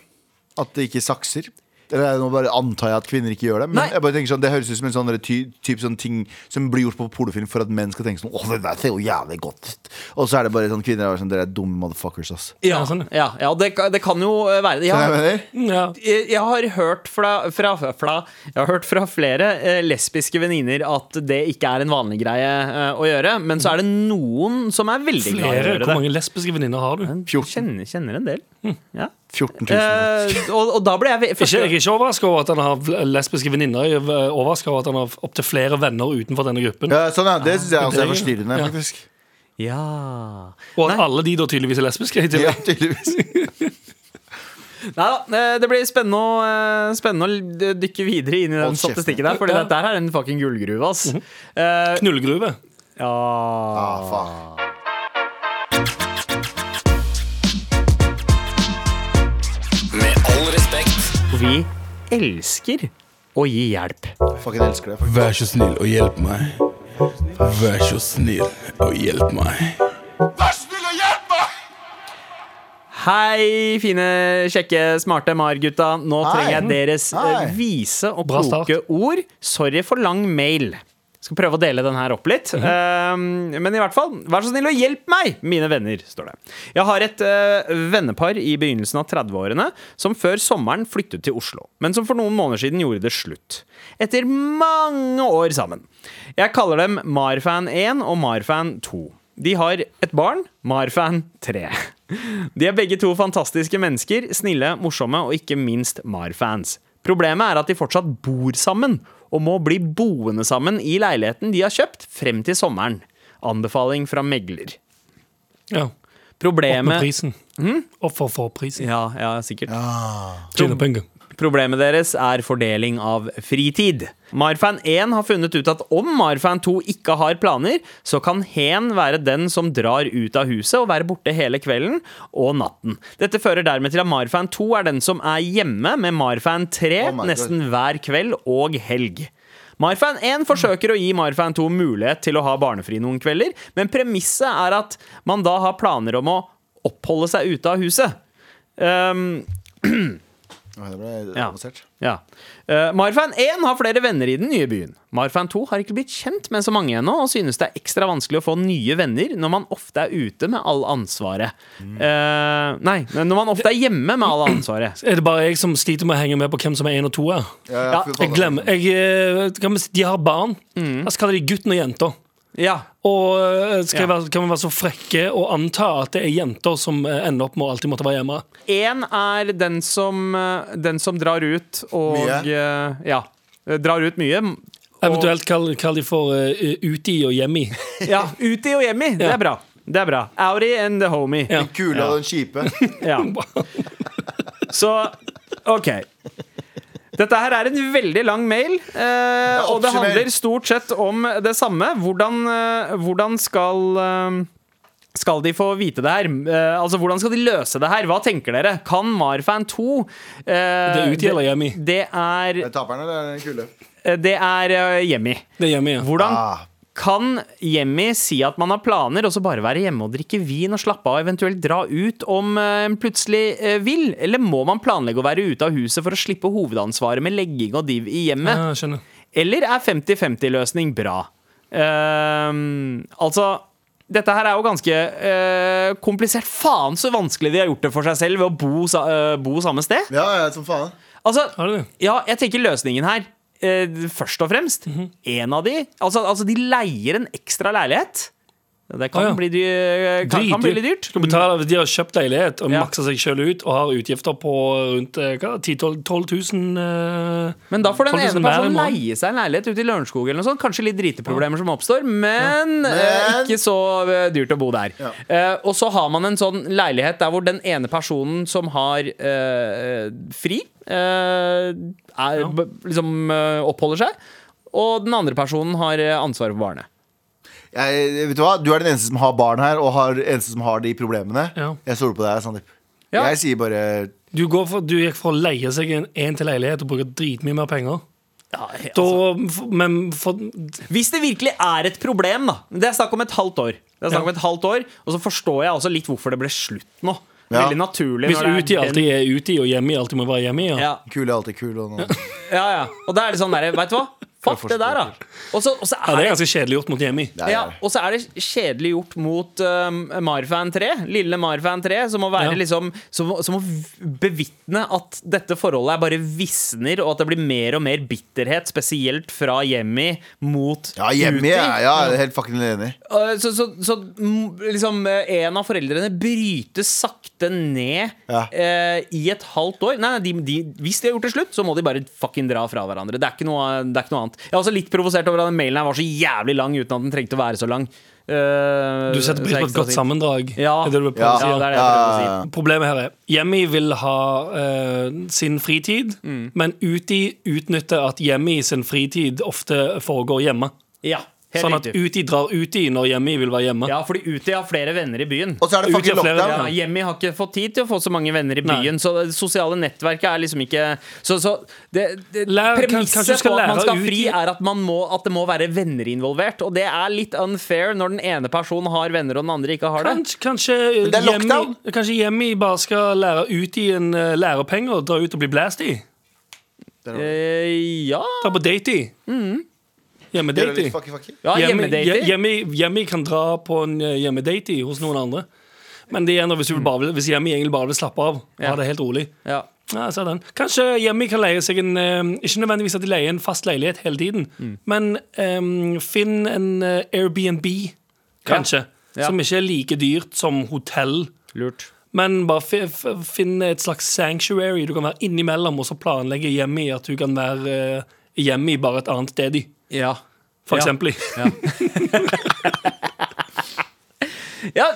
At det ikke sakser? Eller er det nå bare antar jeg at kvinner ikke gjør det. Men Nei. jeg bare tenker sånn, det høres ut som en sånn derre ty, typ sånn ting som blir gjort på pornofilm for at menn skal tenke sånn Åh, det der ser jo jævlig godt ut. Og så er det bare sånn kvinner er sånn Dere er dumme motherfuckers, ass. Ja, sånn. Ja, ja og det, ka- det kan jo eh, være Skjønner du ja. hva jeg mener? Ja. Eh, Jeg jeg har hørt fra, fra, fra, jeg har hørt fra flere eh, lesbiske venninner at det ikke er en vanlig greie eh, å gjøre. Men så er det noen som er veldig glad i å Flere, gjøre hvor det. mange lesbiske venninner har du? 14, Kjenner, kjenner en del. Ja. 14 000. Eh, og, og da ble jeg ve- Ikke, jeg er ikke overraska over at han har lesbiske venninner. Jeg er overraska over at han har opptil flere venner utenfor denne gruppen. Ja, sånn ja, Det syns jeg også er Det- forstyrrende, ja. faktisk. Ja Og at alle de da tydeligvis er lesbiske. i tillegg. Ja, tydeligvis. Neida, eh, det blir spennende å, eh, spennende å d- dykke videre inn i den Hold kjeften. statistikken der, Fordi Ja. Mhm. dette her er en fucking gullgruve, ass. Eh, Knullgruve. ja. [laughs] Ah, faen. Med all respekt. Vi elsker å gi hjelp. Fucking elsker det. Fucking. Vær så snill og hjelp meg. Vær så snill og hjelp meg. Hei, fine, kjekke, smarte MAR-gutta. Nå Hei. trenger jeg deres eh, Hei. vise og Bra kloke ord. Sorry for lang mail. Skal prøve å dele den her opp litt. Eh, men i hvert fall, vær så snill og hjelp meg, mine venner, står det. Jeg har et eh, vennepar i begynnelsen av 30-årene som før sommeren flyttet til Oslo, men som for noen måneder siden gjorde det slutt. Etter mange år sammen. Jeg kaller dem Marfan 1 og Marfan 2. De har et barn, Marfan 3. De er begge to fantastiske mennesker, snille, morsomme og ikke minst Mar-fans. Problemet er at de fortsatt bor sammen, og må bli boende sammen i leiligheten de har kjøpt frem til sommeren. Anbefaling fra megler. Ja. Opp med Problemet prisen. Offer for prisen. Ja, ja, sikkert. Tjene penger. Problemet deres er fordeling av fritid. Marfan 1 har funnet ut at om Marfan 2 ikke har planer, så kan Hen være den som drar ut av huset og være borte hele kvelden og natten. Dette fører dermed til at Marfan 2 er den som er hjemme med Marfan 3 Oh my God. nesten hver kveld og helg. Marfan 1 forsøker å gi Marfan 2 mulighet til å ha barnefri noen kvelder, men premisset er at man da har planer om å oppholde seg ute av huset. Um, Oi, det ble Ja. avansert. ja. Eh, Marfan 1 har flere venner i den nye byen. Marfan 2 har ikke blitt kjent med så mange ennå, og synes det er ekstra vanskelig å få nye venner når man ofte er ute med all ansvaret. Eh, nei, når man ofte er hjemme med all ansvaret. Er det bare jeg som sliter med å henge med på hvem som er én og to? her? Ja, Ja, fy faen, Jeg glemmer jeg, eh, kan vi si- De har barn. Da skal de gutten og jenta. Ja, Og eh, Ja. skal vi være, kan vi være så frekke å anta at det er jenter som eh, ender opp med å alltid måtte være hjemme? Én er den som, eh, den som drar ut og Mye. eh, Ja. eh, Drar ut mye. Eventuelt kall, kall de for eh, uti og hjemmi. Ja, uti og hjemmi. Det er bra. Det er bra. Audi and the homie. Ja. Den kule og den kjipe. Ja. Så OK. Dette her er en veldig lang mail, eh, og det oppsummer. handler stort sett om det samme. Hvordan, eh, hvordan skal eh, skal de få vite det her? Eh, altså, Hvordan skal de løse det her? Hva tenker dere? Kan Marfan 2 eh, Det er uti eller hjemmi. Det er, Er det taperen eller er det den kule? det er eh, Hjemmi. Det er [laughs] hjemmi, ja. Hvordan Ah. kan Jemmy si at man har planer, og så bare være hjemme og drikke vin og slappe av, og eventuelt dra ut om eh, en plutselig eh, vil? Eller må man planlegge å være ute av huset for å slippe hovedansvaret med legging og div i hjemmet? Ja, jeg skjønner. Eller er 50-50-løsning bra? Ehm, altså dette her er jo ganske eh, komplisert. Faen så vanskelig de har gjort det for seg selv ved å bo, sa, eh, bo samme sted. Ja, ja, som faen. Altså, Har du det? ja, jeg tenker løsningen her eh, Først og fremst Mhm. En av de altså, altså de leier en ekstra leilighet Det kan, Å, ja. bli, dy- eh, kan, kan bli litt dyrt Skal betale, de har kjøpt leilighet og Ja. maksa seg sjøl ut og har utgifter på rundt eh, hva, 10 000-12 000. eh, Men da får den ene 12 000 hver i personen måneden. leie seg en leilighet ute i Lørenskog eller noe sånt. Kanskje litt driteproblemer som oppstår, men, eh, ikke så eh, dyrt å bo der. Eh, og så har man en sånn leilighet der hvor den ene personen som har eh, fri, eh, er, b- liksom eh, oppholder seg, og den andre personen har eh, ansvaret for barnet. Jeg, vet du hva? Du er den eneste som har barn her, og har, eneste som har de problemene. Ja. Jeg stoler på deg, Sandeep. Ja. Jeg sier bare Du, går for, du gikk for å leie seg en én til leilighet og bruke dritmye mer penger. Ja, altså- Da, f- men for, Hvis det virkelig er et problem, da. Det er snakk om et halvt år. Det er snakk om Ja. et halvt år Og så forstår jeg også litt hvorfor det ble slutt nå. Ja. Veldig naturlig. hvis når det er uti den- alltid er uti og hjemmi alltid må være hjemmi, ja. ja. kul er alltid kul. Og noe. ja, ja. Og da er det sånn derre, veit du hva? Fuck det der, da. Og så, og så ja, det er er det ganske kjedelig gjort mot hjemmi. Det er- ja, og så er det kjedelig gjort mot um, Marfan 3. Lille Marfan 3, som må være Ja. liksom Som, må- som må v- bevitne at dette forholdet er bare visner, og at det blir mer og mer bitterhet, spesielt fra Jemmy mot Ja, hjemme, Uti. ja. ja jeg er helt fucking enig. Eh, Så, så, så mm, liksom eh, en av foreldrene brytes sakte ned Ja. eh, i et halvt år. Nei, nei, de, de, hvis de har gjort det slutt, så må de bare fucking dra fra hverandre. Det er ikke noe, det er ikke noe annet. Jeg er også litt provosert over at den mailen her var så jævlig lang uten at den trengte å være så lang. Eh, Du setter pris så på jeg er et godt ekstra sint. sammendrag. Ja. Er det du prøver Ja, å si, Ja, ja. det er det jeg prøver å Ja, si. Problemet her er Hjemmi vil ha eh, sin fritid, Mm. men Uti utnytter at Hjemmi sin fritid ofte foregår hjemme. Ja, helt Sånn at riktig. Uti drar Uti når Hjemmi vil være hjemme. Ja, fordi Uti har flere venner i byen. Og så er det fucking Utgjør flere- lockdown. Ja, Jemmy har ikke fått tid til å få så mange venner i Nei. byen, så det sosiale nettverket er liksom ikke Så, så det, det, Lær- kanskje- kanskje du premisset skal på at man lære skal ut fri, i- er at, man må, at det må være venner involvert. Og det er litt unfair når den ene personen har venner, og den andre ikke har det. Kanskje, kanskje, det er Hjemmi, lockdown. kanskje Hjemmi bare skal lære Uti en uh, lærepenger og dra ut og bli blæst i? Eh, ja Dra på date i. Mm. Gjør det Hjemmedate i. litt fucky, fucky. ja Hjemmi- hje- Hjemmedating. Hjemmi Hjemmi kan dra på en eh, hjemmedate i hos noen andre. Men det er når hvis, du bare vil, hvis Hjemmi egentlig bare vil slappe av og Mm. Ja. ha det helt rolig. Ja. Ja, jeg ser den. Kanskje Hjemmi kan leie seg en eh, Ikke nødvendigvis at de leier en fast leilighet hele tiden, Mm. men eh, finn en eh, Airbnb, kanskje, Ja. Ja. som ikke er like dyrt som hotell. Lurt. Men bare fi- f- finn et slags sanctuary du kan være innimellom, og så planlegge Hjemmi at du kan være eh, Hjemmi bare et annet sted i, Ja. for Ja. eksempel. ja.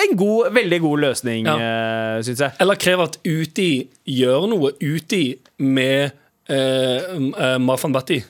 En god, veldig god løsning, Ja. eh, syns jeg. Eller krev at Uti gjør eh, noe Uti med uh, Marfan Bhatti.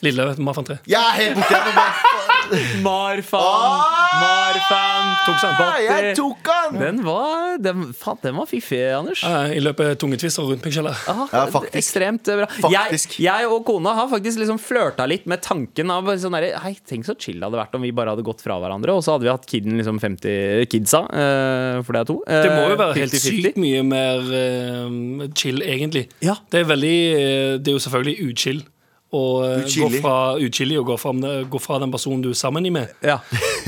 Lille Marfan 3. Jeg er helt borte. jeg, Ah, men hva faen? Marfan! Marfan! Tok seg en Ah, Jeg tok han! Den var, den, faen, den var fiffig, Anders. Eh, I løpet av tungetvister og rundpikkjeller. Ah, Ja, faktisk. Ekstremt bra. Faktisk. Jeg, jeg og kona har faktisk liksom flørta litt med tanken av sånn derre Hei, tenk så chill det hadde vært om vi bare hadde gått fra hverandre, og så hadde vi hatt kiden liksom 50 kidsa, eh, for det er to. eh, Det må jo være helt 50-50. sykt mye mer eh, chill, egentlig. Ja. Det, er veldig, eh, det er jo selvfølgelig uchill å eh, gå Uchillig. fra, uchillig å gå fra, gå fra den personen du er sammen i med. Ja.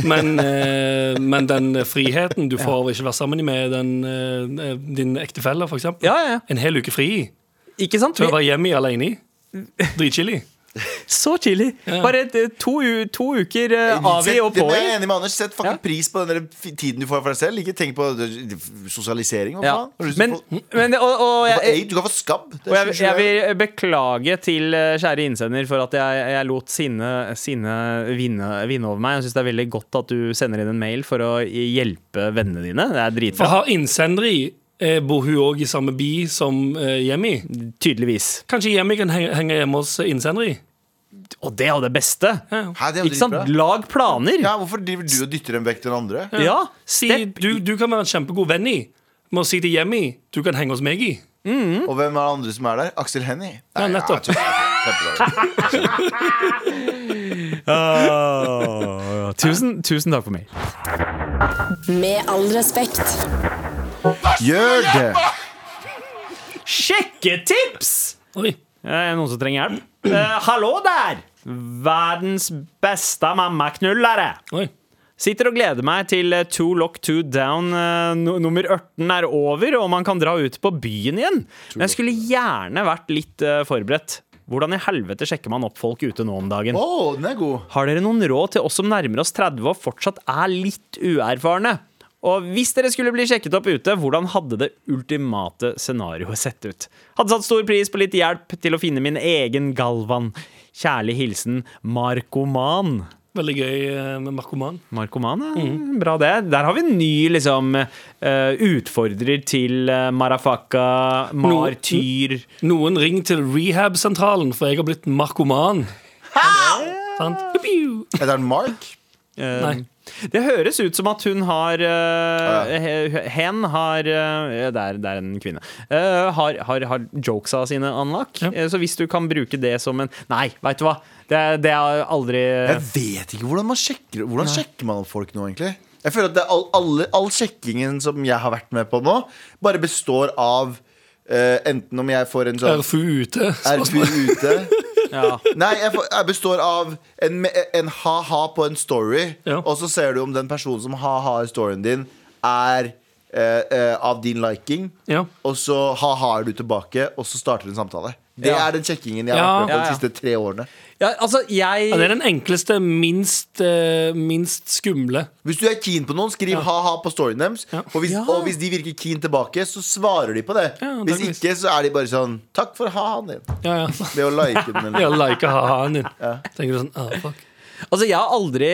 Men, eh, men den friheten du får av å ikke være sammen i med den, eh, din ektefelle, f.eks. Ja, ja, ja. En hel uke fri i. Ikke sant? Til å være hjemme i alene i. Dritchillig. Så chilly. Bare eh, to, u- to uker eh, av i og Sett- på men jeg er i. enig med Anders. Sett fucking Ja. pris på den der f- tiden du får for deg selv. Ikke tenk på eh, sosialisering. Hva Ja. faen? Har du lyst til Men, å få- men og, og få jeg, aid? Du kan få skabb. Det er Og jeg, 27 jeg vil beklage til eh, kjære innsender for at jeg, jeg lot sinne, sinne vinne, vinne over meg. Jeg syns det er veldig godt at du sender inn en mail for å hjelpe vennene dine. Det er For dritbra. har innsender i, eh, bor hun òg i samme by som eh, Jemmy? Tydeligvis. Kanskje Jemmy kan henge henge hjemme hos eh, innsender i? Og det er jo det beste! Hæ, det er jo Ikke sant? dritbra. Lag planer! Ja, hvorfor driver du og dytter dem vekk til den andre? Ja. Si, Step. du, du kan være en kjempegod venn i Med å si til Jemmy Du kan henge hos meg i Og hvem er det andre som er der? Aksel Hennie? Ja, Nei, nettopp. ja, kjempebra. Åh, tusen, tusen takk for meg. Med all respekt. Gjør det! Sjekketips! Oi Eh, Er det noen som trenger hjelp? Eh, hallo der! Verdens beste mammaknullere! Oi Sitter og gleder meg til eh, Two Lock Two Down eh, nu- nummer 18 er over, og man kan dra ut på byen igjen. Men jeg skulle gjerne vært litt eh, forberedt. Hvordan i helvete sjekker man opp folk ute nå om dagen? Å, den er god. Har dere noen råd til oss som nærmer oss 30 og fortsatt er litt uerfarne? Og hvis dere skulle bli sjekket opp ute, hvordan hadde det ultimate scenarioet sett ut? Hadde satt stor pris på litt hjelp til å finne min egen Galvan. Kjærlig hilsen Markoman. Veldig gøy eh, med narkoman Markoman, ja. Mm. Bra det. Der har vi en ny liksom, eh, utfordrer til eh, Marafaka, martyr Noen ring til rehab-sentralen For jeg har blitt narkoman Sant? Piu-piu. Heter den Mark? Nei eh. Det høres ut som at hun har eh, he- Hen har eh, det, er, det er en kvinne. Eh, har, har, har jokesa sine unlock. Ja. Eh, så hvis du kan bruke det som en Nei, veit du hva! Det, er- det er aldri Jeg vet ikke hvordan man sjekker Hvordan sjekker man opp folk nå, egentlig? Jeg føler at det er all, alle, all sjekkingen som jeg har vært med på nå, bare består av eh, enten om jeg får en sånn RFU ute RP ute [laughs] Ja. Nei, jeg, får, jeg består av en, me- en ha-ha på en story, Ja. og så ser du om den personen som ha-ha-er storyen din, er eh, eh, av din liking, Ja og så ha-ha-er du tilbake, og så starter en samtale. Det Ja. er den sjekkingen jeg har vært med Ja. på Ja, ja. de siste tre årene. ja, altså, jeg ja, det er den enkleste, minst, eh, minst skumle Hvis du er keen på noen, skriv ha-ha på storyen deres. Ja. Og, hvis, og hvis de virker keen tilbake, så svarer de på det. Ja, hvis antageligvis. ikke, så er de bare sånn Takk for ha-ha-en din. Ja, ja Ved å like den. [laughs] Jeg Eller. liker ha-ha-en din Tenker du sånn, ah, fuck Altså, jeg har aldri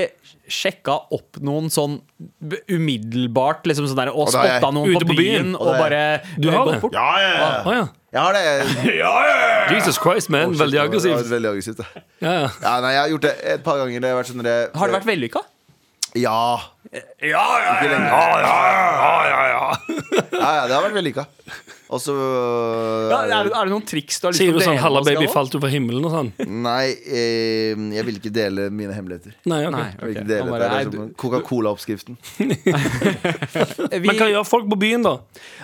sjekka opp noen sånn b- umiddelbart, liksom sånn der, og det har jeg. spotta noen Ute på på byen, byen. og Og det bare har Du har gått det? bort. Ja, ja, ja. Åja Jeg har det. Jesus Christ, man, [laughs] veldig Ja, aggressivt Veldig aggressivt. ja. Ja, ja Ja, nei, jeg har gjort det et par ganger. Det har vært sånn der- Har det vært vellykka? Ja. Ikke lenge. Ja, ja, det har vært vellykka. Og så Ja, er, det- er det noen triks du har lyst Sier til å du sånn, dele med halla oss, baby, Galvan? falt du fra himmelen og sånn Nei, eh, jeg vil ikke dele mine hemmeligheter. Nei, ok Nei, Jeg vil ok. ikke dele Han dette. bare, Det nei, er du- som Coca-Cola-oppskriften. vi- Men hva gjør folk på byen, da?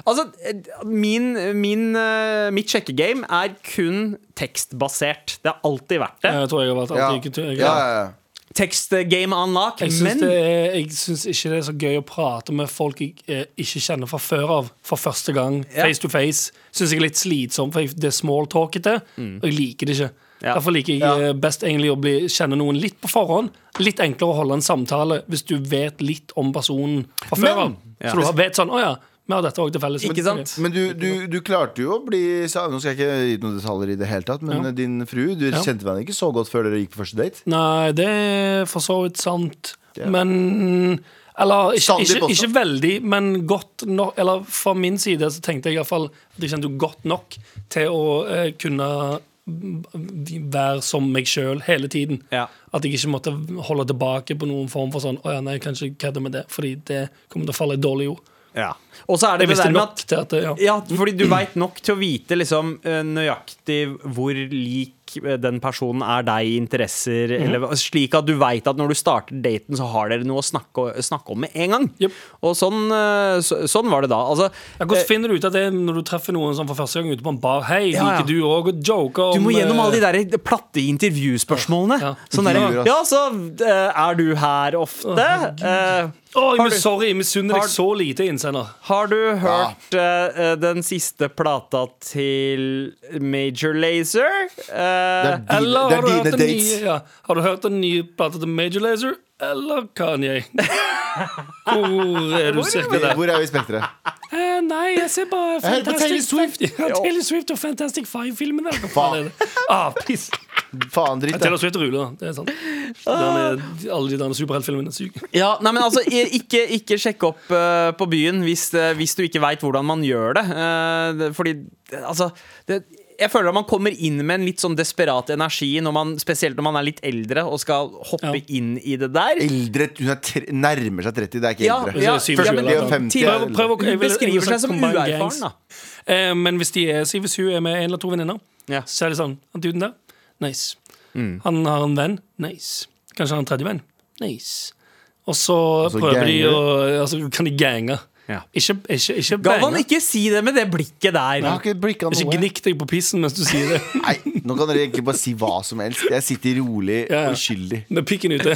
Altså, eh, min, min, eh, mitt sjekkegame er kun tekstbasert. Det har alltid vært det. Jeg tror jeg har vært Ja. alltid Ja, ikke- ja, ja. Tekstgame unlock. Jeg syns, Men det er, jeg syns ikke det er så gøy å prate med folk jeg eh, ikke kjenner fra før av. For første gang, Ja. face to face. Syns jeg er litt slitsomt, for jeg- det er smalltalkete. Og jeg liker det ikke. Mm. Ja. Derfor liker jeg eh, best egentlig å bli, kjenne noen litt på forhånd. Litt enklere å holde en samtale hvis du vet litt om personen fra før av. Så du har- vet sånn Å ja, vi har dette òg til felles. Ikke sant? Ok. Men du, du, du klarte jo å bli sa- Nå skal jeg ikke gi noen detaljer i det hele tatt, men Ja. din frue Du kjente henne ikke så godt før dere gikk på første date. Nei, det er for så vidt sant. Men Eller ikke, Sandeep ikke, også. ikke veldig, men godt nok. Eller fra min side så tenkte jeg iallfall at jeg kjente jo godt nok til å eh, kunne være som meg sjøl hele tiden. Ja. At jeg ikke måtte holde tilbake på noen form for sånn Å ja, nei, jeg kan ikke kødde med det, fordi det kommer til å falle i dårlig jord. Ja. Og så er det det Jeg visste der med nok at til at det, ja. ja, fordi du veit nok til å vite liksom, eh, nøyaktig hvor lik eh, den personen er deg i interesser, Mhm. eller, slik at du veit at når du starter daten, så har dere noe å snakke, snakke om med en gang. Jep. Og sånn, eh, så, sånn var det da. Altså, Ja, hvordan eh, finner du ut av det når du treffer noen sånn for første gang ute på en bar? Hei, Ja, ja. liker du òg å joke om du må gjennom alle de eh, der platte intervjuspørsmålene. Ja. Sånn der, Intervjuer, ass. ja, så eh, er du her ofte? Eh, Å, jeg Har mis- du- sorry, jeg misunner Har- deg så lite, innsender. Har du hørt eh, eh, den siste plata til Major Lazer? Eh, Det er dine, Eller det har er du, dine hørt den dates. nye, ja. har du hørt den nye plata til Major Lazer eller Kanye? Hvor er du cirka Hvor, der? hvor er vi i spekteret? Eh, nei, jeg ser bare hører på Taylor Swift. Ja, Taylor Swift og Fantastic Five-filmene. Hva faen er det? Ah, piss. Faen, dritt. da. Taylor Swift ruler, det er sant. Den er- Alle de der superheltfilmene er syke. ja, nei, men altså, i- ikke, ikke sjekk opp eh, på byen hvis, eh, hvis du ikke veit hvordan man gjør det. Eh, det- fordi, det- altså det, jeg føler at man kommer inn med en litt sånn desperat energi, når man, spesielt når man er litt eldre og skal hoppe Ja. inn i det der. Eldre Hun er tre, nærmer seg 30, det er ikke Ja, eldre. ja, Hvis det er ja, men 47 eller noe. til- Prøv- prøv å- jeg vil- jeg vil Beskriver sagt seg som combined gangs. uerfaren, da. Eh, men hvis, de er, si, hvis hun er med en eller to venninner, Ja. så er det sånn Han duden der, nice. Mm. Han har en venn, nice. Kanskje han har en tredje venn, nice. Og så så prøver de ganger. å altså, Kan de gange? Ja. Ikke, ikke, ikke Galvan, bange. ikke si det med det blikket der. Jeg har ikke blikka Ikke noe. gnikk deg på pissen mens [laughs] du sier det. Nei, nå kan dere egentlig bare si hva som helst. Jeg sitter rolig Ja, ja. og uskyldig. Med pikken ute.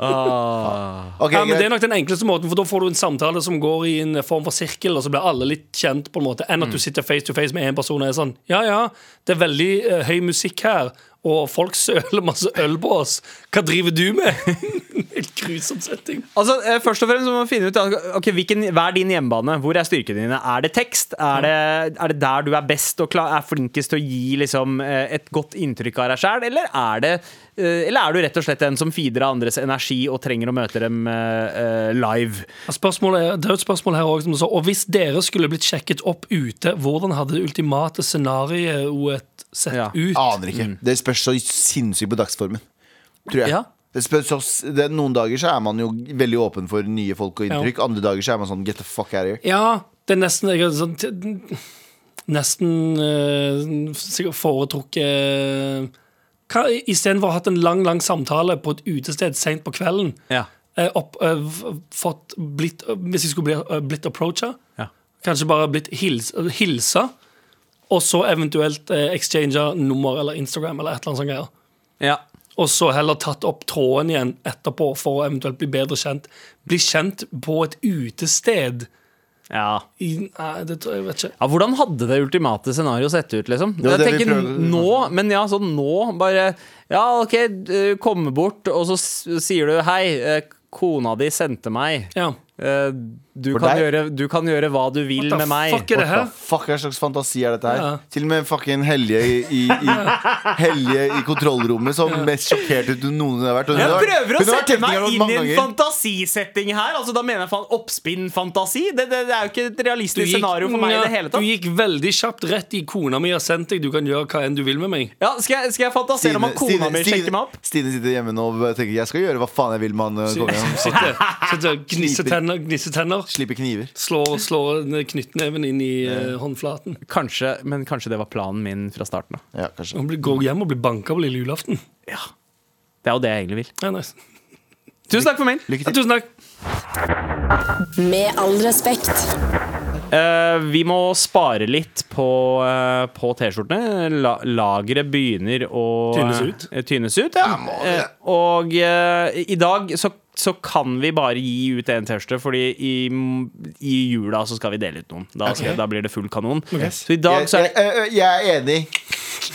Ok, Ja, men Det er greit. nok den enkleste måten, for da får du en samtale som går i en form for sirkel, og så blir alle litt kjent, på en måte enn Mm. at du sitter face to face med en person og er sånn Ja, ja, det er veldig eh, høy musikk her, og folk søler masse øl på oss. Hva driver du med? [laughs] Helt grusom setting. Altså, eh, først og fremst så må man finne ut ja, ok, hvilken, Hva er din hjemmebane? Hvor er styrkene dine? Er det tekst? Er det, er det der du er best og klar, er flinkest til å gi liksom, eh, et godt inntrykk av deg sjæl? Eller, er det, eh, eller er du rett og slett en som feeder av andres energi og trenger å møte dem eh, eh, live? Ja, Spørsmålet er, det er jo et spørsmål her også, som sa, Og hvis dere skulle blitt sjekket opp ute, hvordan hadde det ultimate scenarioet sett Ja. ut? Aner ikke. Mm. Det spørs så sinnssykt på dagsformen. Tror jeg. Ja. Det spørs så, s- det, noen dager så er man jo veldig åpen for nye folk og inntrykk. Andre dager så er man sånn get the fuck out of here. Ja, det er nesten jeg, er sånn, t- Nesten eh, sikkert foretrukket hva- i- Istedenfor å ha hatt en lang lang samtale på et utested seint på kvelden Ja. eh, opp, eh, f- fått blitt, Hvis jeg skulle bli, eh, blitt approacha, Ja. kanskje bare blitt hils, hilsa, og så eventuelt eh, exchange nummer eller Instagram eller et eller annet sånt greier. Ja. Og så heller tatt opp tråden igjen etterpå for å eventuelt bli bedre kjent. Bli kjent på et utested. ja. I, nei, det tror jeg, jeg vet ikke. Ja, Hvordan hadde det ultimate scenario sett ut? liksom? var Jeg det vi tenker prøvde. nå, men ja, sånn nå bare Ja, OK, du kommer bort, og så s- sier du hei, eh, kona di sendte meg. Ja. Eh, Du For kan, deg? gjøre, du kan gjøre hva du vil What the med meg. fuck er det her? Hva fuck hva slags fantasi er dette her? Ja. Til og med fucking Helje i, i, i, Helje i kontrollrommet så mest sjokkert ut hun noensinne har vært. Hun Jeg har vært- prøver å hun har vært sette meg tekniker inn i mange en ganger. fantasisetting her. Altså, da mener jeg faen oppspinnfantasi. Det, det, det er jo ikke et Du realistisk gikk- scenario for meg i ja, det hele tatt. Du gikk veldig kjapt rett i kona mi har sendt deg, du kan gjøre hva enn du vil med meg. Ja, skal, jeg, skal jeg fantasere om at kona mi Stine- sjekker meg opp? Stine sitter hjemme nå og tenker jeg skal gjøre hva faen jeg vil med han eh, kommer hjem. [laughs] Sitter, sitter og gnisser Sliper. tenner, gnisser tenner Slipper kniver. slår, slår knyttneven inn i eh, håndflaten. Kanskje, men kanskje det var planen min fra starten av. Ja, kanskje. Hun blir- går hjem og blir banka på lille julaften. Det er jo det jeg egentlig vil. Ja, nice. Tusen takk for mailen. Lykke ja, til. tusen takk. Med all respekt. Eh, vi må spare litt på, eh, på T-skjortene. La, lageret begynner å Tynnes ut. eh, Tynnes ut ja. Eh, og eh, i dag så, så kan vi bare gi ut én T-skjorte, Fordi i, i jula så skal vi dele ut noen. Da, skal, da blir det full kanon. Så i dag Jeg, så er jeg, det jeg, jeg er enig.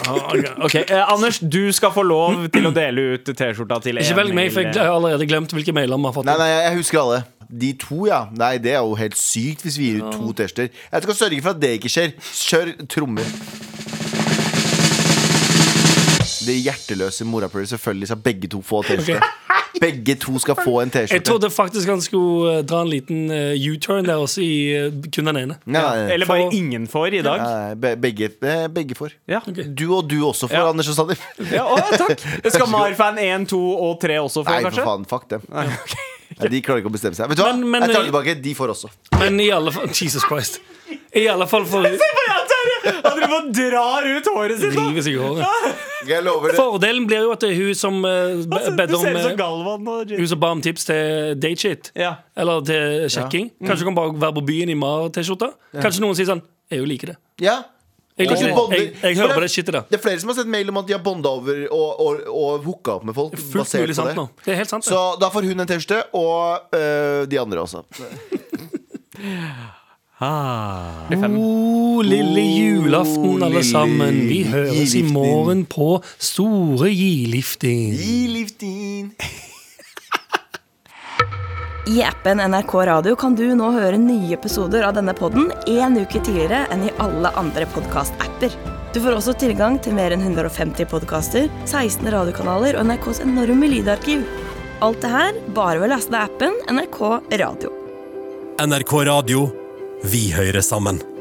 Ah, ja. [laughs] Ok, eh, Anders, du skal få lov til å dele ut T-skjorta til Ikke en velg meg, for mail. jeg har allerede glemt hvilke mailer vi har fått. Nei, nei, jeg husker alle. De to, ja. Nei, det er jo helt sykt hvis vi gir ut to tester. Jeg skal sørge for at det ikke skjer. Kjør trommer. Det hjerteløse morapuler selvfølgelig så har begge to få tester. Begge to skal få en Jeg T-skjorte. trodde faktisk han skulle eh, dra en liten eh, U-turn der også, i eh, kun den ene. Nei, nei, nei. Eller bare ingen får i dag. Nei, be- Begge, eh, begge får. Ja. Du og du også får, Ja. Anders og Sandeep. Ja, å, ja, takk. Skal Mar-fan 1, 2 og 3 også få, Nei, for kanskje? faen. Fuck dem. [laughs] Nei, de klarer ikke å bestemme seg. Vet du hva? Men- eh, men- jeg tar det tilbake. De får også. Men i alle fall Jesus Christ. I alle fall for Se på Jan Terje! Han driver og drar ut håret sitt. da. river seg i håret. Jeg lover det. Fordelen blir jo at det er hun som eh, be- Altså, bedde Du om ser ut som eh, Galvan og Hun som ba om tips til dateshit. Ja. Mm. Eller til sjekking. Kanskje hun kan bare være på byen i Mar-T-skjorte. Kanskje noen sier sånn Jeg jo liker det. Ja. Og Jeg, liker du det. bonder. jeg, jeg hører på det shitet der. Det er flere som har sett mail om at de har bonda over og, og, og hooka opp med folk. Fullt basert på mulig sant det. nå. Det er helt sant. Så det. da får hun en T-skjorte, og øh, de andre også. Oh, God lille Oh, julaften, alle lille sammen. Vi høres i julaften. morgen på Store Gilifting. I lifting. I appen NRK Radio kan du nå høre nye episoder av denne podden en uke tidligere enn i alle andre podcast-apper. Du får også tilgang til mer enn 150 podcaster, 16 radiokanaler og NRKs enorme lydarkiv. Alt det her bare ved å laste ned appen NRK Radio. NRK Radio. Vi hører sammen.